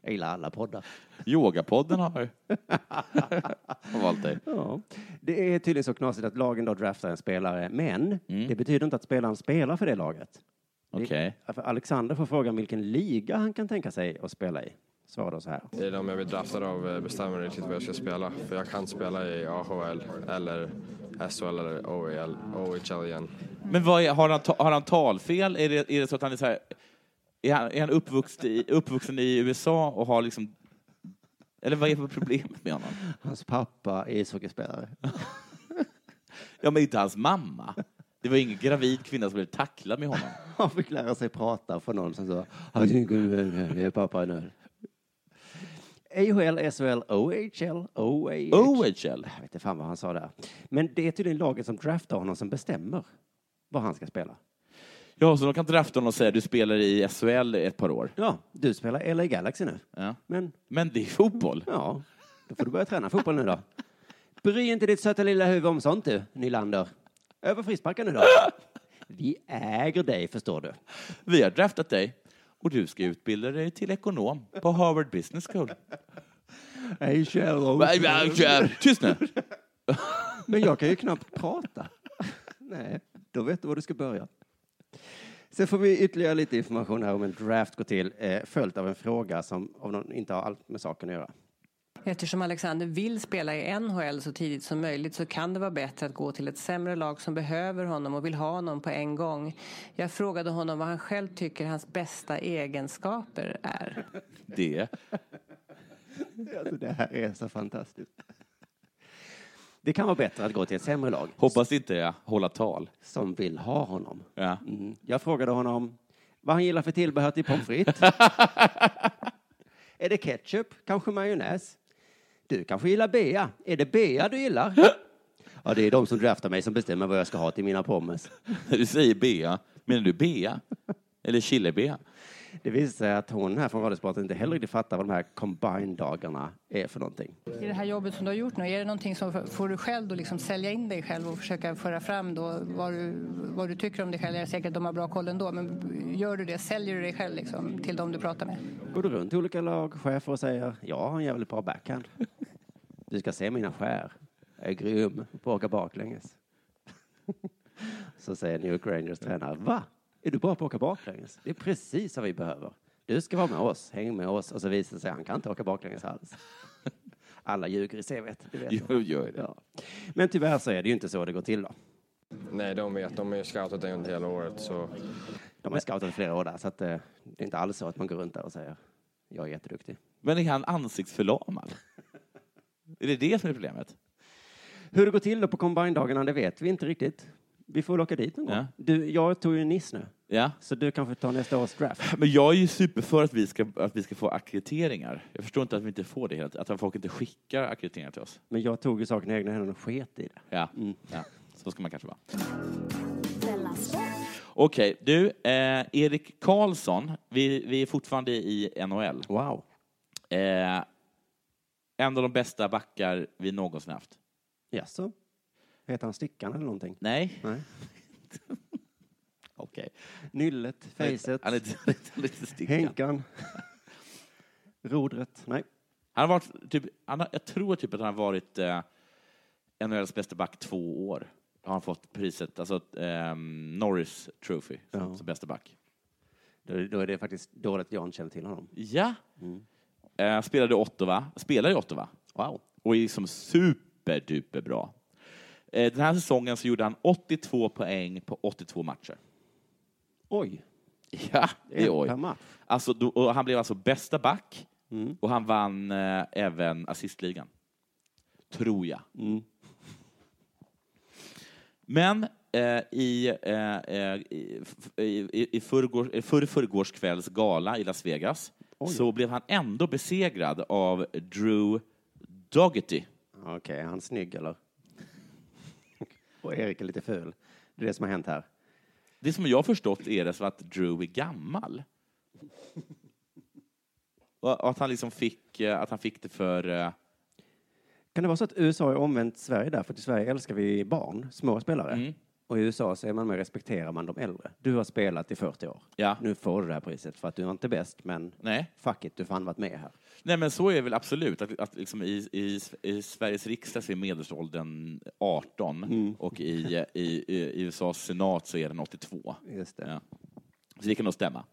Speaker 4: Jag gillar alla poddar.
Speaker 3: Yogapodden har, har valt dig.
Speaker 4: Ja. Det är tydligen så knasigt att lagen då draftar en spelare, men det betyder inte att spelaren spelar för det laget. Det-
Speaker 3: Okej.
Speaker 4: för Alexander får frågan vilken liga han kan tänka sig att spela i. Svarar då så här.
Speaker 10: Det är de jag blir draftad av eh, bestämmer riktigt vad jag ska spela. För jag kan spela i AHL eller SHL eller OHL, OHL igen.
Speaker 3: Men vad är, har, han ta, har han talfel? Är det, är det så att han är så här... Är han, är han uppvuxen, i, uppvuxen i USA och har liksom... Eller vad är problemet med honom?
Speaker 4: Hans pappa är ishockeyspelare.
Speaker 3: Ja, men inte hans mamma. Det var ingen gravid kvinna som blev tacklad med honom.
Speaker 4: Han fick lära sig prata från någon som sa "Jag tycker det är pappa en öl." AHL, SHL, OHL, OHL.
Speaker 3: Oh, OHL?
Speaker 4: Jag vet inte fan vad han sa där. Men det är tydligen laget som draftar honom som bestämmer vad han ska spela.
Speaker 3: Ja, så de kan drafta honom och säga du spelar i SHL ett par år.
Speaker 4: Ja, du spelar LA Galaxy nu.
Speaker 3: Ja.
Speaker 4: Men,
Speaker 3: Men det är fotboll.
Speaker 4: Ja, då får du börja träna fotboll nu då. Bry inte ditt söta lilla huvud om sånt du, Nylander. Över frisparken nu då. Vi äger dig, förstår du.
Speaker 3: Vi har draftat dig och du ska utbilda dig till ekonom på Harvard Business School.
Speaker 4: Hej, Kjell.
Speaker 3: Bye, bye, Kjell. Tyst nu!
Speaker 4: Men jag kan ju knappt prata. Nej, då vet du var du ska börja. Sen får vi ytterligare lite information här om en draft går till, eh, följt av en fråga som av någon inte har allt med saken att göra.
Speaker 9: Eftersom Alexander vill spela i NHL så tidigt som möjligt så kan det vara bättre att gå till ett sämre lag som behöver honom och vill ha honom på en gång. Jag frågade honom vad han själv tycker hans bästa egenskaper är.
Speaker 3: Det.
Speaker 4: Alltså, det här är så fantastiskt. Det kan vara bättre att gå till ett sämre lag
Speaker 3: Hoppas inte jag hålla tal.
Speaker 4: som vill ha honom.
Speaker 3: Ja.
Speaker 4: Mm. Jag frågade honom vad han gillar för tillbehör till pommes frites. är det ketchup? Kanske majonnäs? Du kanske gillar bea? Är det bea du gillar? ja, det är de som draftar mig som bestämmer vad jag ska ha till mina pommes.
Speaker 3: När du säger bea, menar du bea? Eller chilibea?
Speaker 4: Det visar sig att hon här från Radiosporten inte heller riktigt fattar vad de här combine-dagarna är för någonting.
Speaker 11: I det här jobbet som du har gjort nu, är det någonting som får du själv då liksom sälja in dig själv och försöka föra fram då vad du, vad du tycker om dig själv? Jag är säker att de har bra koll ändå, men gör du det, säljer du dig själv liksom till de du pratar med?
Speaker 4: Går du runt till olika lagchefer och säger jag har en jävligt bra backhand. Du ska se mina skär. Jag är grym på att åka baklänges. Så säger New York Rangers tränare, va? Är du bra på att åka baklänges? Det är precis vad vi behöver. Du ska vara med oss, häng med oss. Och så visar det sig, han kan inte åka baklänges alls. Alla ljuger i CVt, det vet jag.
Speaker 3: Jo, gör det.
Speaker 4: Ja. Men tyvärr så är det ju inte så det går till då.
Speaker 10: Nej, de vet. De har ju scoutat dig under hela året. Så.
Speaker 4: De har scoutat i flera år där, så att, eh, det är inte alls så att man går runt där och säger, jag är jätteduktig.
Speaker 3: Men är han ansiktsförlamad? Är det det som är problemet?
Speaker 4: Hur det går till då på combine-dagarna, det vet vi inte riktigt. Vi får väl åka dit någon gång.
Speaker 3: Ja.
Speaker 4: Du, jag tog ju NIS nu,
Speaker 3: Ja.
Speaker 4: så du kanske tar nästa års draft.
Speaker 3: Men jag är ju super för att vi ska, att vi ska få akkrediteringar. Jag förstår inte att vi inte får det. helt- Att folk inte skickar akkrediteringar till oss.
Speaker 4: Men jag tog ju saken i egna händer och sket i det.
Speaker 3: Ja. ja. Så ska man kanske vara.
Speaker 7: Della Sport.
Speaker 3: Okej, du. Eh, Erik Karlsson. Vi, vi är fortfarande i NHL.
Speaker 4: Wow.
Speaker 3: Eh, en av de bästa backar vi någonsin haft.
Speaker 4: Jaså? Heter han Stickan eller någonting?
Speaker 3: Nej.
Speaker 4: Nej.
Speaker 3: Okej.
Speaker 4: Nyllet, Fejset,
Speaker 3: Han är lite, han är lite, lite stickad.
Speaker 4: Henkan, Rodret. Nej.
Speaker 3: Han har varit, typ, han har, jag tror typ att han har varit eh, NHLs bästa back två år. Har han fått priset, alltså ehm, Norris Trophy, som,
Speaker 4: Ja.
Speaker 3: som bästa back.
Speaker 4: Då, då är det faktiskt dåligt att jag inte känner till honom.
Speaker 3: Ja. Eh, spelade i Ottawa, spelar i Ottawa.
Speaker 4: Wow.
Speaker 3: Och är liksom superduper bra. Eh, den här säsongen så gjorde han 82 poäng på 82 matcher.
Speaker 4: Oj.
Speaker 3: Ja, det
Speaker 4: En
Speaker 3: är oj.
Speaker 4: per match.
Speaker 3: Alltså, då, och han blev alltså bästa back och han vann eh, även assistligan. Tror jag. Men eh, i, eh, eh, i, f- i, i förrgår, i förr, förrgårs kvälls gala i Las Vegas så blev han ändå besegrad av Drew Doggety.
Speaker 4: Okej, är han snygg eller? och Erik är lite ful. Det är det som har hänt här.
Speaker 3: Det som jag har förstått är det så att Drew är gammal. Och och att han liksom fick, eh, att han fick det för... eh,
Speaker 4: Kan det vara så att USA är omvänt Sverige där? För att i Sverige älskar vi barn, små spelare. Och i USA så är man mer, respekterar man de äldre. Du har spelat i 40 år.
Speaker 3: Ja.
Speaker 4: Nu får du det här priset för att du är inte bäst, men
Speaker 3: Nej.
Speaker 4: fuck it, du har fan varit med här.
Speaker 3: Nej, men så är det väl absolut. Att, att liksom i, i, I Sveriges riksdag så är medelåldern 18
Speaker 4: Mm.
Speaker 3: och i, i, i USAs senat så är den 82.
Speaker 4: Just det.
Speaker 3: Ja. Så det kan nog stämma.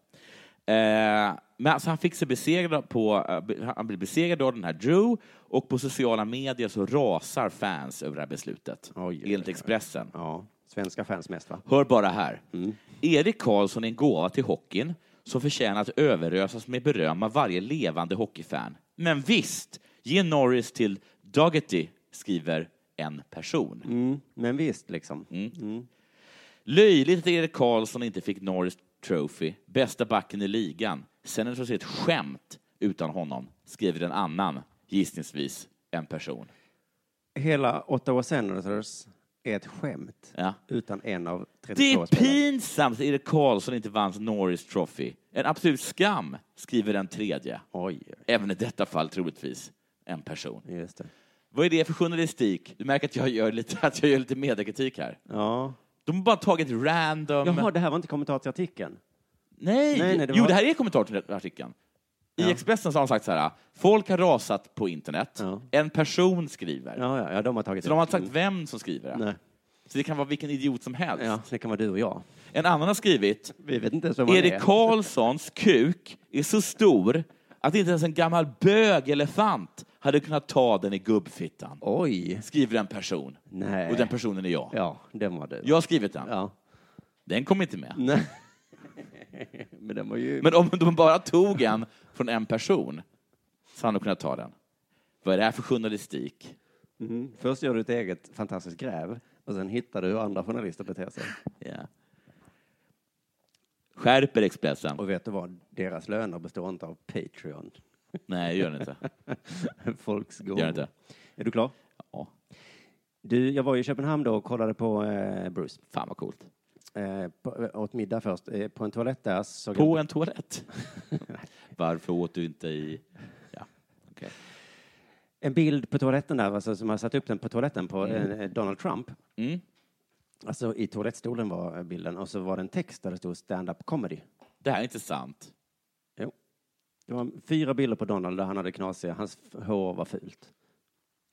Speaker 3: Eh, men alltså han fick sig besegrad på, eh, be- han blev besegrad av den här Drew och på sociala medier så rasar fans över det här beslutet.
Speaker 4: Oj, oj,
Speaker 3: enligt
Speaker 4: oj.
Speaker 3: Expressen.
Speaker 4: Ja, svenska fans mest va?
Speaker 3: Hör bara här. Erik Karlsson är en gåva till hockeyn som förtjänar att överösas med beröm av varje levande hockeyfan. Men visst, ge Norris till Doggety, skriver en person.
Speaker 4: Mm, men visst liksom.
Speaker 3: Löjligt att Erik Karlsson inte fick Norris Trophy, bästa backen i ligan. Sen är det förstås ett skämt utan honom, skriver en annan, gissningsvis en person.
Speaker 4: Hela Ottawa Senators är ett skämt
Speaker 3: Ja.
Speaker 4: utan en av
Speaker 3: Det
Speaker 4: 32
Speaker 3: är
Speaker 4: spelare.
Speaker 3: pinsamt att Erik Karlsson inte vann Norris Trophy. En absolut skam, skriver den tredje. Även i detta fall troligtvis en person. Vad är det för journalistik? Du märker att jag gör lite, att jag gör lite mediekritik här.
Speaker 4: Ja.
Speaker 3: De har bara tagit random...
Speaker 4: Jaha, det här var inte kommentar till artikeln?
Speaker 3: Nej!
Speaker 4: Nej, nej, det
Speaker 3: Jo,
Speaker 4: var-
Speaker 3: det här är kommentar till artikeln. I Expressen så har de sagt så här, folk har rasat på internet, en person skriver.
Speaker 4: Ja, ja, ja de har tagit
Speaker 3: så
Speaker 4: det.
Speaker 3: de har inte sagt
Speaker 4: Mm.
Speaker 3: vem som skriver det.
Speaker 4: Nej.
Speaker 3: Så det kan vara vilken idiot som helst.
Speaker 4: Ja, det kan vara du och jag.
Speaker 3: En annan har skrivit,
Speaker 4: Vi vet inte ens vem han är.
Speaker 3: Erik Karlssons kuk är så stor att inte ens en gammal bögelefant hade kunnat ta den i gubbfittan.
Speaker 4: Oj.
Speaker 3: Skriver en person.
Speaker 4: Nej.
Speaker 3: Och den personen är jag.
Speaker 4: Ja, den var du.
Speaker 3: Jag har skrivit den.
Speaker 4: Ja.
Speaker 3: Den kom inte med.
Speaker 4: Nej. Men den var ju...
Speaker 3: Men om de bara tog en från en person så hade de kunnat ta den. Vad är det här för journalistik?
Speaker 4: Mhm. Först gör du ett eget fantastiskt gräv och sen hittar du hur andra journalister beter sig.
Speaker 3: Ja. Skärper Expressen.
Speaker 4: Och vet du vad? Deras löner består inte av Patreon.
Speaker 3: Nej, gör den inte.
Speaker 4: Folks gåvor.
Speaker 3: Gör den inte.
Speaker 4: Är du klar?
Speaker 3: Ja.
Speaker 4: Du, jag var i Köpenhamn då och kollade på eh, Bruce.
Speaker 3: Fan vad coolt.
Speaker 4: Eh, på, åt middag först. Eh, på en toalett där såg
Speaker 3: På
Speaker 4: jag...
Speaker 3: en toalett. Varför åt du inte i... Ja. okej.
Speaker 4: en bild på toaletten där, alltså, som har satt upp den på toaletten på
Speaker 3: Mm.
Speaker 4: eh, Donald Trump.
Speaker 3: Mm.
Speaker 4: Alltså i toalettstolen var eh, bilden och så var det en text där det stod stand-up comedy.
Speaker 3: Det här är inte sant.
Speaker 4: Jo. Det var fyra bilder på Donald där han hade knasiga, hans f- hår var fult.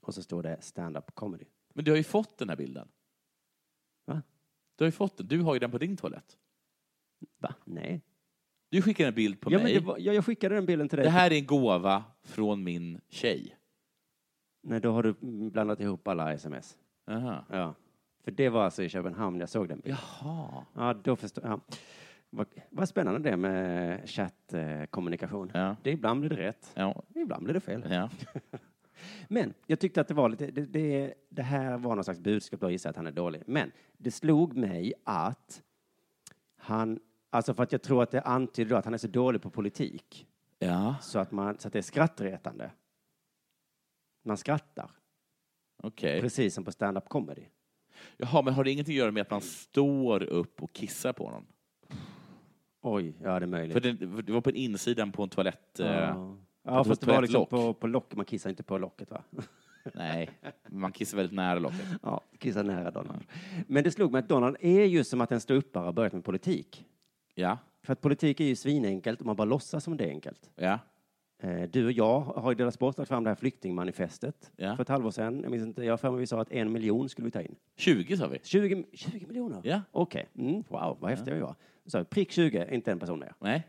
Speaker 4: Och så stod det stand-up comedy.
Speaker 3: Men du har ju fått den här bilden.
Speaker 4: Va?
Speaker 3: Du har ju fått den. Du har ju den på din toalett.
Speaker 4: Va? Nej.
Speaker 3: Du skickar en bild på
Speaker 4: Ja, men
Speaker 3: mig.
Speaker 4: det var, ja, jag skickade den bilden till dig.
Speaker 3: Det här är en gåva från min tjej.
Speaker 4: Nej, då har du mm, blandat ihop alla sms.
Speaker 3: Aha.
Speaker 4: Ja. För det var alltså i Köpenhamn jag såg den bilden.
Speaker 3: Jaha.
Speaker 4: Ja, då förstår jag. Vad, vad spännande det med chattkommunikation.
Speaker 3: Ja.
Speaker 4: Det ibland blir det rätt,
Speaker 3: Ja.
Speaker 4: ibland blir det fel.
Speaker 3: Ja.
Speaker 4: Men jag tyckte att det var lite, det, det, det här var någon slags budskap, då gissar jag att han är dålig. Men det slog mig att han, alltså för att jag tror att det antyder då att han är så dålig på politik
Speaker 3: Ja,
Speaker 4: så att, man, så att det är skrattretande. Man skrattar,
Speaker 3: okej.
Speaker 4: precis som på stand-up comedy.
Speaker 3: Jaha, men har det ingenting att göra med att man står upp och kissar på honom?
Speaker 4: Oj, ja det är möjligt.
Speaker 3: För det, för det var på en insidan på en toalett... eh,
Speaker 4: ja,
Speaker 3: på
Speaker 4: ja
Speaker 3: ett
Speaker 4: fast det var liksom
Speaker 3: toalettlock.
Speaker 4: på, på lock, man kissar inte på locket va?
Speaker 3: Nej, man kissar väldigt nära locket.
Speaker 4: Ja, kissa nära Donald. Men det slog mig att Donald är ju som att en ståuppare har börjat med politik.
Speaker 3: Ja,
Speaker 4: För att politik är ju svinenkelt om man bara låtsas som det är enkelt.
Speaker 3: ja.
Speaker 4: Eh, Du och jag har ju delat sport tagit fram det här flyktingmanifestet
Speaker 3: Ja.
Speaker 4: för ett halvår sedan. Jag minns inte, jag har för mig vi sa att en miljon skulle vi ta in.
Speaker 3: 20 sa vi.
Speaker 4: 20, 20 miljoner?
Speaker 3: Ja.
Speaker 4: Okej, mm, wow, vad häftiga vi var. Så, prick 20, inte en person mer.
Speaker 3: Nej.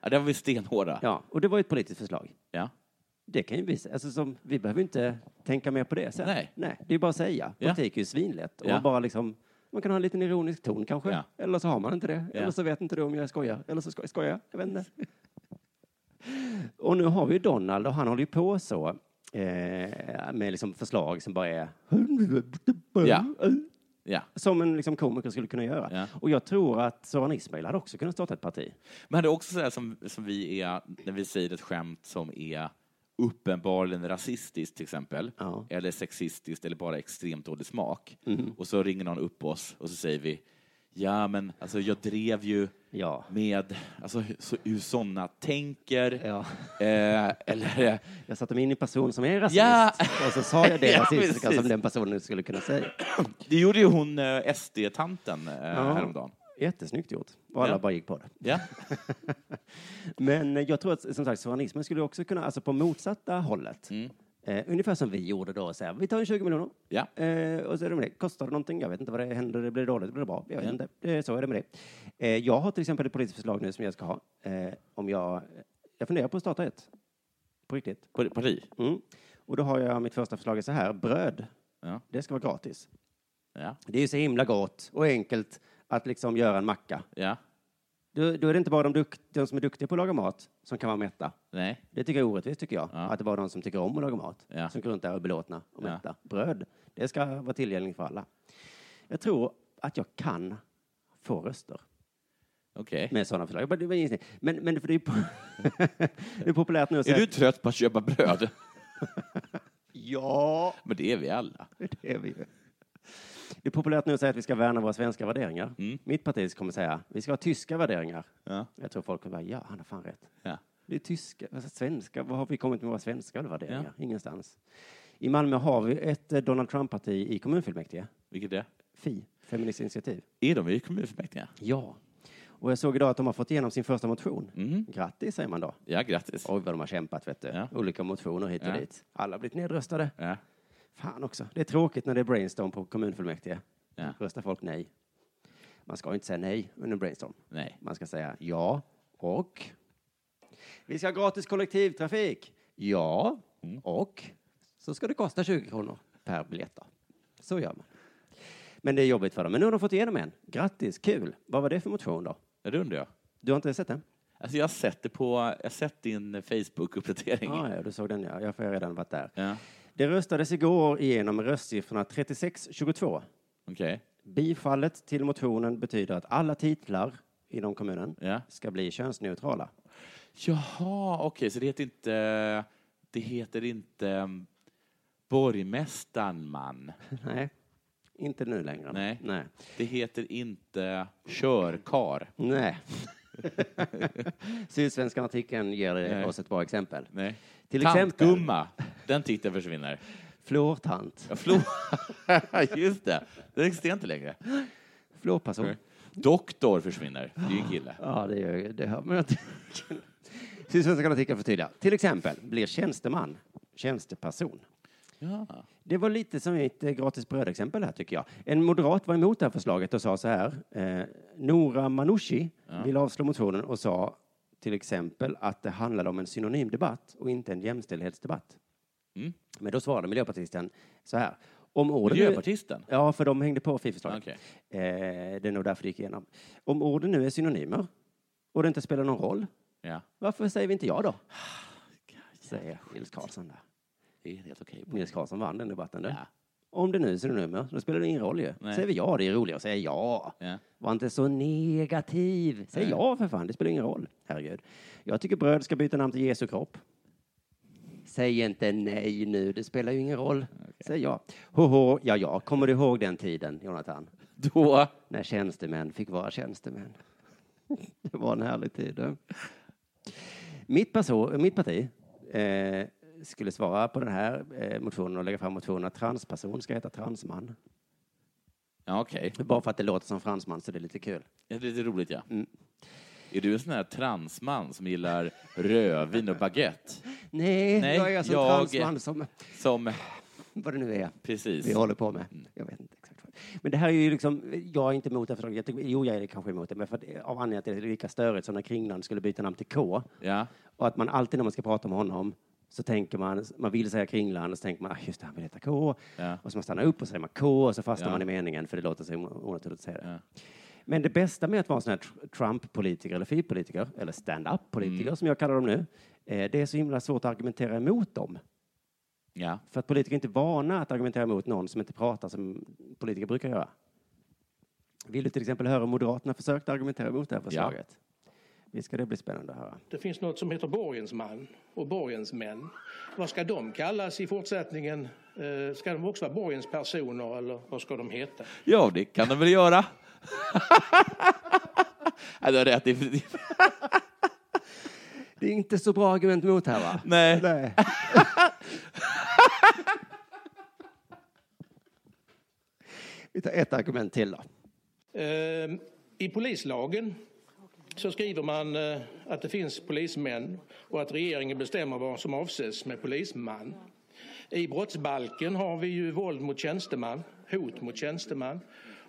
Speaker 3: Ja, där var vi stenhårda.
Speaker 4: Ja, och det var ju ett politiskt förslag.
Speaker 3: Ja.
Speaker 4: Det kan ju visa, alltså som, vi behöver ju inte tänka mer på det sen.
Speaker 3: Nej.
Speaker 4: det är ju bara att säga.
Speaker 3: Ja.
Speaker 4: Politik är ju svinlätt. Och
Speaker 3: Ja.
Speaker 4: bara liksom, man kan ha en liten ironisk ton kanske.
Speaker 3: Ja.
Speaker 4: Eller så har man inte det.
Speaker 3: Ja.
Speaker 4: Eller så vet inte du om jag skojar. Eller så sko- skojar jag. Jag vet inte. och nu har vi ju Donald och han håller ju på så. Eh, med liksom förslag som bara är
Speaker 3: Ja. ja.
Speaker 4: som en liksom komiker skulle kunna göra.
Speaker 3: Ja.
Speaker 4: Och jag tror att Soran Ismail hade också kunnat starta ett parti.
Speaker 3: Men det är också sådär som, som vi är, när vi säger ett skämt som är uppenbarligen rasistiskt till exempel,
Speaker 4: Ja.
Speaker 3: eller sexistiskt eller bara extremt dålig smak.
Speaker 4: Mhm.
Speaker 3: Och så ringer någon upp oss och så säger vi Ja, men alltså jag drev ju
Speaker 4: Ja.
Speaker 3: med alltså, hur, så, hur sådana tänker.
Speaker 4: Ja.
Speaker 3: Eh, eller, eh,
Speaker 4: Jag satte mig in i en person som är rasist
Speaker 3: Ja.
Speaker 4: och så sa jag det
Speaker 3: Ja,
Speaker 4: rasistiska som
Speaker 3: precis.
Speaker 4: den personen skulle kunna säga.
Speaker 3: det gjorde ju hon eh, SD-tanten eh, häromdagen.
Speaker 4: Jättesnyggt gjort. Och alla
Speaker 3: Ja.
Speaker 4: bara gick på det.
Speaker 3: Ja.
Speaker 4: Men eh, jag tror att som sagt soranismen skulle också kunna, alltså på motsatta hållet.
Speaker 3: Mm.
Speaker 4: Eh, ungefär som vi gjorde då, så här, vi tar en 20 miljoner.
Speaker 3: Ja.
Speaker 4: Eh, och så är det med det. Kostar det någonting? Jag vet inte vad det händer. Det blir dåligt, det blir bra. Jag vet
Speaker 3: Ja.
Speaker 4: inte. Eh, så är det med det. Eh, jag har till exempel ett politiskt förslag nu som jag ska ha. Eh, om jag, jag funderar på att starta ett. På riktigt.
Speaker 3: På- Parti?
Speaker 4: Mm. Och då har jag mitt första förslag är så här. Bröd,
Speaker 3: Ja.
Speaker 4: det ska vara gratis.
Speaker 3: Ja.
Speaker 4: Det är ju så himla gott och enkelt att liksom göra en macka.
Speaker 3: Ja.
Speaker 4: Då, då är det inte bara de, dukt, de som är duktiga på att laga mat som kan vara mätta.
Speaker 3: Nej.
Speaker 4: Det tycker jag är orättvist, tycker jag. Att det bara är de som tycker om att laga mat
Speaker 3: Ja.
Speaker 4: som går runt där och är belåtna och
Speaker 3: Ja.
Speaker 4: mätta. Bröd, det ska vara tillgängligt för alla. Jag tror att jag kan få röster
Speaker 3: Okej.
Speaker 4: med sådana förslag. Jag bara- det var ingen gissning. Men, men för det, är po- det är populärt nu att
Speaker 3: Mm. Är
Speaker 4: säga...
Speaker 3: du trött på att köpa bröd?
Speaker 4: Ja,
Speaker 3: men det är vi alla.
Speaker 4: det är vi ju. Det är populärt nu att säga att vi ska värna våra svenska värderingar. Mitt parti kommer säga vi ska ha tyska värderingar. Jag tror folk kommer bara, ja, han har fan rätt.
Speaker 3: Ja.
Speaker 4: Det är tyska, alltså svenska, vad har vi kommit med våra svenska värderingar? Ingenstans. I Malmö har vi ett eh, Donald Trump-parti i kommunfullmäktige.
Speaker 3: Vilket är?
Speaker 4: Fi, Feministiskt initiativ.
Speaker 3: Är de i kommunfullmäktige?
Speaker 4: Ja. Och jag såg idag att de har fått igenom sin första motion. Grattis säger man då.
Speaker 3: Ja, grattis.
Speaker 4: Oj, vad de har kämpat, vet du. Olika motioner hit och
Speaker 3: Ja.
Speaker 4: dit. Alla har blivit nedröstade. Fan också. Det är tråkigt när det är brainstorm på kommunfullmäktige. Röstar folk nej? Man ska ju inte säga nej under brainstorm.
Speaker 3: Nej.
Speaker 4: Man ska säga ja och. Vi ska ha gratis kollektivtrafik. Ja och. Så ska det kosta 20 kronor per biljett. då. Så gör man. Men det är jobbigt för dem. Men nu har de fått igenom en. Grattis, kul. Vad var det för motion då?
Speaker 3: Ja, det undrar jag.
Speaker 4: Du har inte sett den?
Speaker 3: Alltså jag har sett det på, jag har sett din Facebook-uppdatering.
Speaker 4: Ah, Ja, ja, du såg den ja. Jag har redan varit där. Det röstades igår igenom med röstsiffrorna 36-22.
Speaker 3: Okej.
Speaker 4: Bifallet till motionen betyder att alla titlar inom kommunen ska bli könsneutrala.
Speaker 3: Jaha, okej, så det heter inte, det heter inte um, borgmästaren man.
Speaker 4: Nej, inte nu längre.
Speaker 3: Nej.
Speaker 4: Nej.
Speaker 3: Det heter inte körkar.
Speaker 4: Nej. Sydsvenska artikeln ger
Speaker 3: Nej.
Speaker 4: oss ett bra exempel.
Speaker 3: Nej.
Speaker 4: Till exempel
Speaker 3: Tantgumma, den titeln försvinner.
Speaker 4: flårtant,
Speaker 3: Ja, Flo... Just det, den existerar inte längre.
Speaker 4: flårperson.
Speaker 3: Nej. Doktor försvinner, det är ju en kille.
Speaker 4: Ja, det, gör, det hör man ju inte. Sydsvenskan artikeln förtydligar. Till exempel blir tjänsteman tjänsteperson.
Speaker 3: Ja.
Speaker 4: Det var lite som ett eh, gratis bröd-exempel här, tycker jag. En moderat var emot det här förslaget och sa så här. Eh, Nora Manouchi ville avslå motionen och sa till exempel att det handlade om en synonymdebatt och inte en jämställdhetsdebatt.
Speaker 3: Mm.
Speaker 4: Men då svarade miljöpartisten så här. Om orden nu-
Speaker 3: Miljöpartisten?
Speaker 4: Ja, för de hängde på FI-förslaget.
Speaker 3: Okej.
Speaker 4: Eh, det är nog därför det gick igenom. Om orden nu är synonymer och det inte spelar någon roll,
Speaker 3: Ja.
Speaker 4: varför säger vi inte ja då? Säger Nils Karlsson där.
Speaker 3: Det är helt okej.
Speaker 4: Nils Karlsson vann den debatten. Ja. Om det nu är synonymer, då spelar det ingen roll ju.
Speaker 3: Nej.
Speaker 4: Säger vi ja, det är roligare att säga ja. Var inte så negativ. Säg ja för fan, det spelar ingen roll. Herregud. Jag tycker bröd ska byta namn till Jesu kropp. Säg inte nej nu, det spelar ju ingen roll. Säg ja. Hoho, ja ja, kommer du ihåg den tiden, Jonathan?
Speaker 3: Då?
Speaker 4: När tjänstemän fick vara tjänstemän. Det var en härlig tid. du. Mitt, perso- mitt parti eh, skulle svara på den här eh, motionen och lägga fram motionen att transperson ska heta transman.
Speaker 3: Ja, okej.
Speaker 4: Bara för att det låter som fransman så det är lite kul.
Speaker 3: Ja, det är lite roligt, ja.
Speaker 4: Mm.
Speaker 3: Är du en sån här transman som gillar rödvin och baguette?
Speaker 4: Nej,
Speaker 3: Nej,
Speaker 4: jag är som
Speaker 3: jag-
Speaker 4: transman som
Speaker 3: Som...
Speaker 4: vad det nu är
Speaker 3: Precis. Mm.
Speaker 4: vi håller på med. Jag vet inte exakt. vad. Men det här är ju liksom, jag är inte emot det här förslaget. Jag tycker- Jo, jag är kanske emot det, men för att, av anledningen att det är lika störigt som när Kringland skulle byta namn till K.
Speaker 3: Ja.
Speaker 4: Och att man alltid när man ska prata om honom så tänker man, man vill säga Kringland och så tänker man, ah, just det, han vill heta K. Och så man stannar upp och säger man K och så fastnar
Speaker 3: Ja.
Speaker 4: man i meningen för det låter så onaturligt att säga det. Men det bästa med att vara en sån här tr- Trump-politiker eller FI-politiker, eller stand-up-politiker som jag kallar dem nu, eh, det är så himla svårt att argumentera emot dem.
Speaker 3: Ja.
Speaker 4: För att politiker är inte vana att argumentera mot någon som inte pratar som politiker brukar göra. Vill du till exempel höra hur Moderaterna försökt argumentera mot det här förslaget? Visst ska det bli spännande att höra.
Speaker 12: Det finns något som heter borgensman och borgensmän. Vad ska de kallas i fortsättningen? Eh, Ska de också vara borgenspersoner eller vad ska de heta?
Speaker 3: Ja, det kan de väl göra. ja, du har rätt. Det-
Speaker 4: Det är inte så bra argument mot här, va?
Speaker 3: Nej.
Speaker 4: Nej. Vi tar ett argument till då.
Speaker 12: Eh, I polislagen så skriver man eh, att det finns polismän och att regeringen bestämmer vad som avses med polisman. I brottsbalken har vi ju våld mot tjänsteman, hot mot tjänsteman.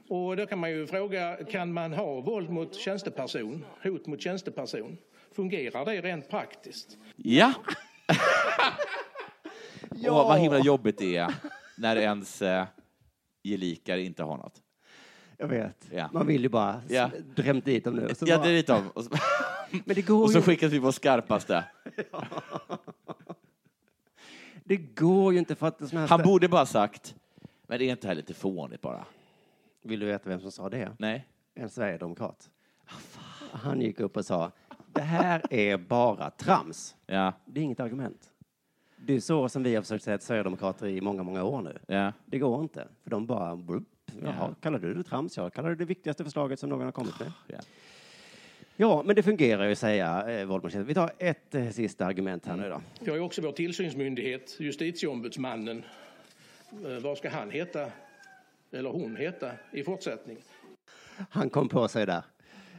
Speaker 12: Och då kan man ju fråga, kan man ha våld mot tjänsteperson, hot mot tjänsteperson? Fungerar det rent praktiskt?
Speaker 3: Ja. Åh, vad himla jobbigt det är när ens eh, gelikar inte har något.
Speaker 4: Jag vet.
Speaker 3: Ja.
Speaker 4: Man vill ju bara
Speaker 3: Ja.
Speaker 4: ja. drämt dit dem nu. och så
Speaker 3: Ja,
Speaker 4: bara-
Speaker 3: det är lite om. Och så,
Speaker 4: Men det går
Speaker 3: och så
Speaker 4: ju-
Speaker 3: skickas vi på skarpaste.
Speaker 4: det går ju inte för att en sån här...
Speaker 3: Han borde bara sagt, men det är inte det här lite fånigt bara?
Speaker 4: Vill du veta vem som sa det?
Speaker 3: Nej.
Speaker 4: En sverigedemokrat. Han gick upp och sa, det här är bara trams.
Speaker 3: Ja.
Speaker 4: Det är inget argument. Det är så som vi har försökt säga till sverigedemokrater i många, många år nu.
Speaker 3: Ja.
Speaker 4: Det går inte, för de bara... Brup, Jaha,
Speaker 3: Ja.
Speaker 4: kallar du det trams? Jag kallar det det viktigaste förslaget som någon har kommit med. Ja, men det fungerar ju, säger eh, våldmaskinen. Vi tar ett eh, sista argument här nu
Speaker 3: Mm.
Speaker 4: då.
Speaker 13: Vi har ju också vår tillsynsmyndighet, justitieombudsmannen. Eh, Vad ska han heta, eller hon heta, i fortsättningen?
Speaker 4: Han kom på sig där.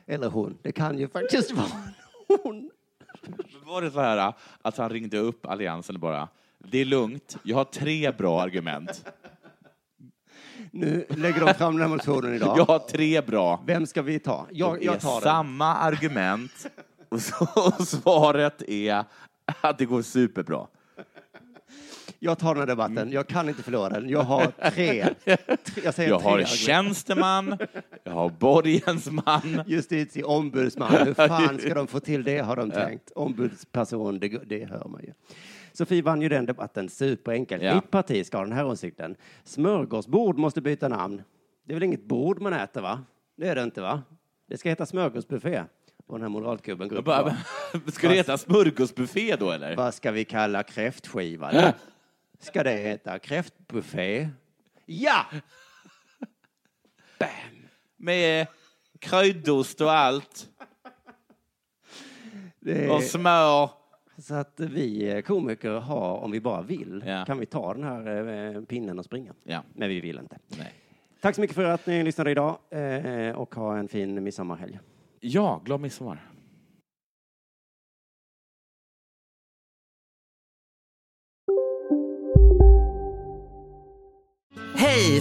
Speaker 4: Eller hon. Det kan ju faktiskt vara hon.
Speaker 3: Var det så här eh, att han ringde upp Alliansen bara, det är lugnt, jag har tre bra argument.
Speaker 4: Nu lägger de fram den här motionen idag.
Speaker 3: Jag har tre bra.
Speaker 4: Vem ska vi ta? Jag,
Speaker 3: Det är
Speaker 4: jag tar den.
Speaker 3: samma argument och, så, och svaret är att det går superbra.
Speaker 4: Jag tar den här
Speaker 3: Mm.
Speaker 4: debatten. Jag kan inte förlora den. Jag har tre. tre jag säger
Speaker 3: Jag
Speaker 4: tre
Speaker 3: har
Speaker 4: argument.
Speaker 3: tjänsteman, jag har borgensman.
Speaker 4: Justitieombudsman. Hur fan ska de få till det, har de tänkt. Ombudsperson, det, det hör man ju. Sofie vann ju den debatten superenkel.
Speaker 3: Ja.
Speaker 4: Mitt parti ska ha den här åsikten. Smörgåsbord måste byta namn. Det är väl inget bord man äter, va? Det är det inte, va? Det ska heta smörgåsbuffé. Och den här moderatgubben går upp
Speaker 3: Jag
Speaker 4: och
Speaker 3: bara, Ska det heta smörgåsbuffé då eller?
Speaker 4: Vad ska vi kalla kräftskivan? då? Ska det heta kräftbuffé? Ja!
Speaker 3: Med kryddost och allt.
Speaker 4: Det-
Speaker 3: Och smör.
Speaker 4: Så att vi eh, komiker har, om vi bara vill, kan vi ta den här eh, pinnen och springa.
Speaker 3: Ja.
Speaker 4: Men vi vill inte. Tack så mycket för att ni lyssnade idag eh, och ha en fin midsommarhelg.
Speaker 3: Ja, glad midsommar.
Speaker 5: Hej,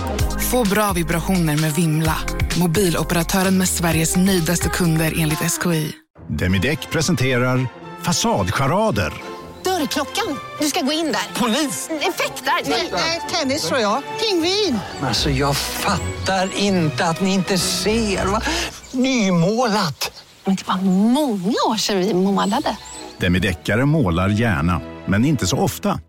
Speaker 14: Få bra vibrationer med Vimla. Mobiloperatören med Sveriges nöjdaste kunder enligt SKI.
Speaker 15: Demideck presenterar Fasadcharader.
Speaker 9: Dörrklockan. Du ska gå in där. Polis? Effektar? Nej, tennis tror jag. Pingvin.
Speaker 16: Alltså jag fattar inte att ni inte ser. Va? Nymålat.
Speaker 17: Men det var många år sedan vi målade.
Speaker 15: Demideckare målar gärna, men inte så ofta.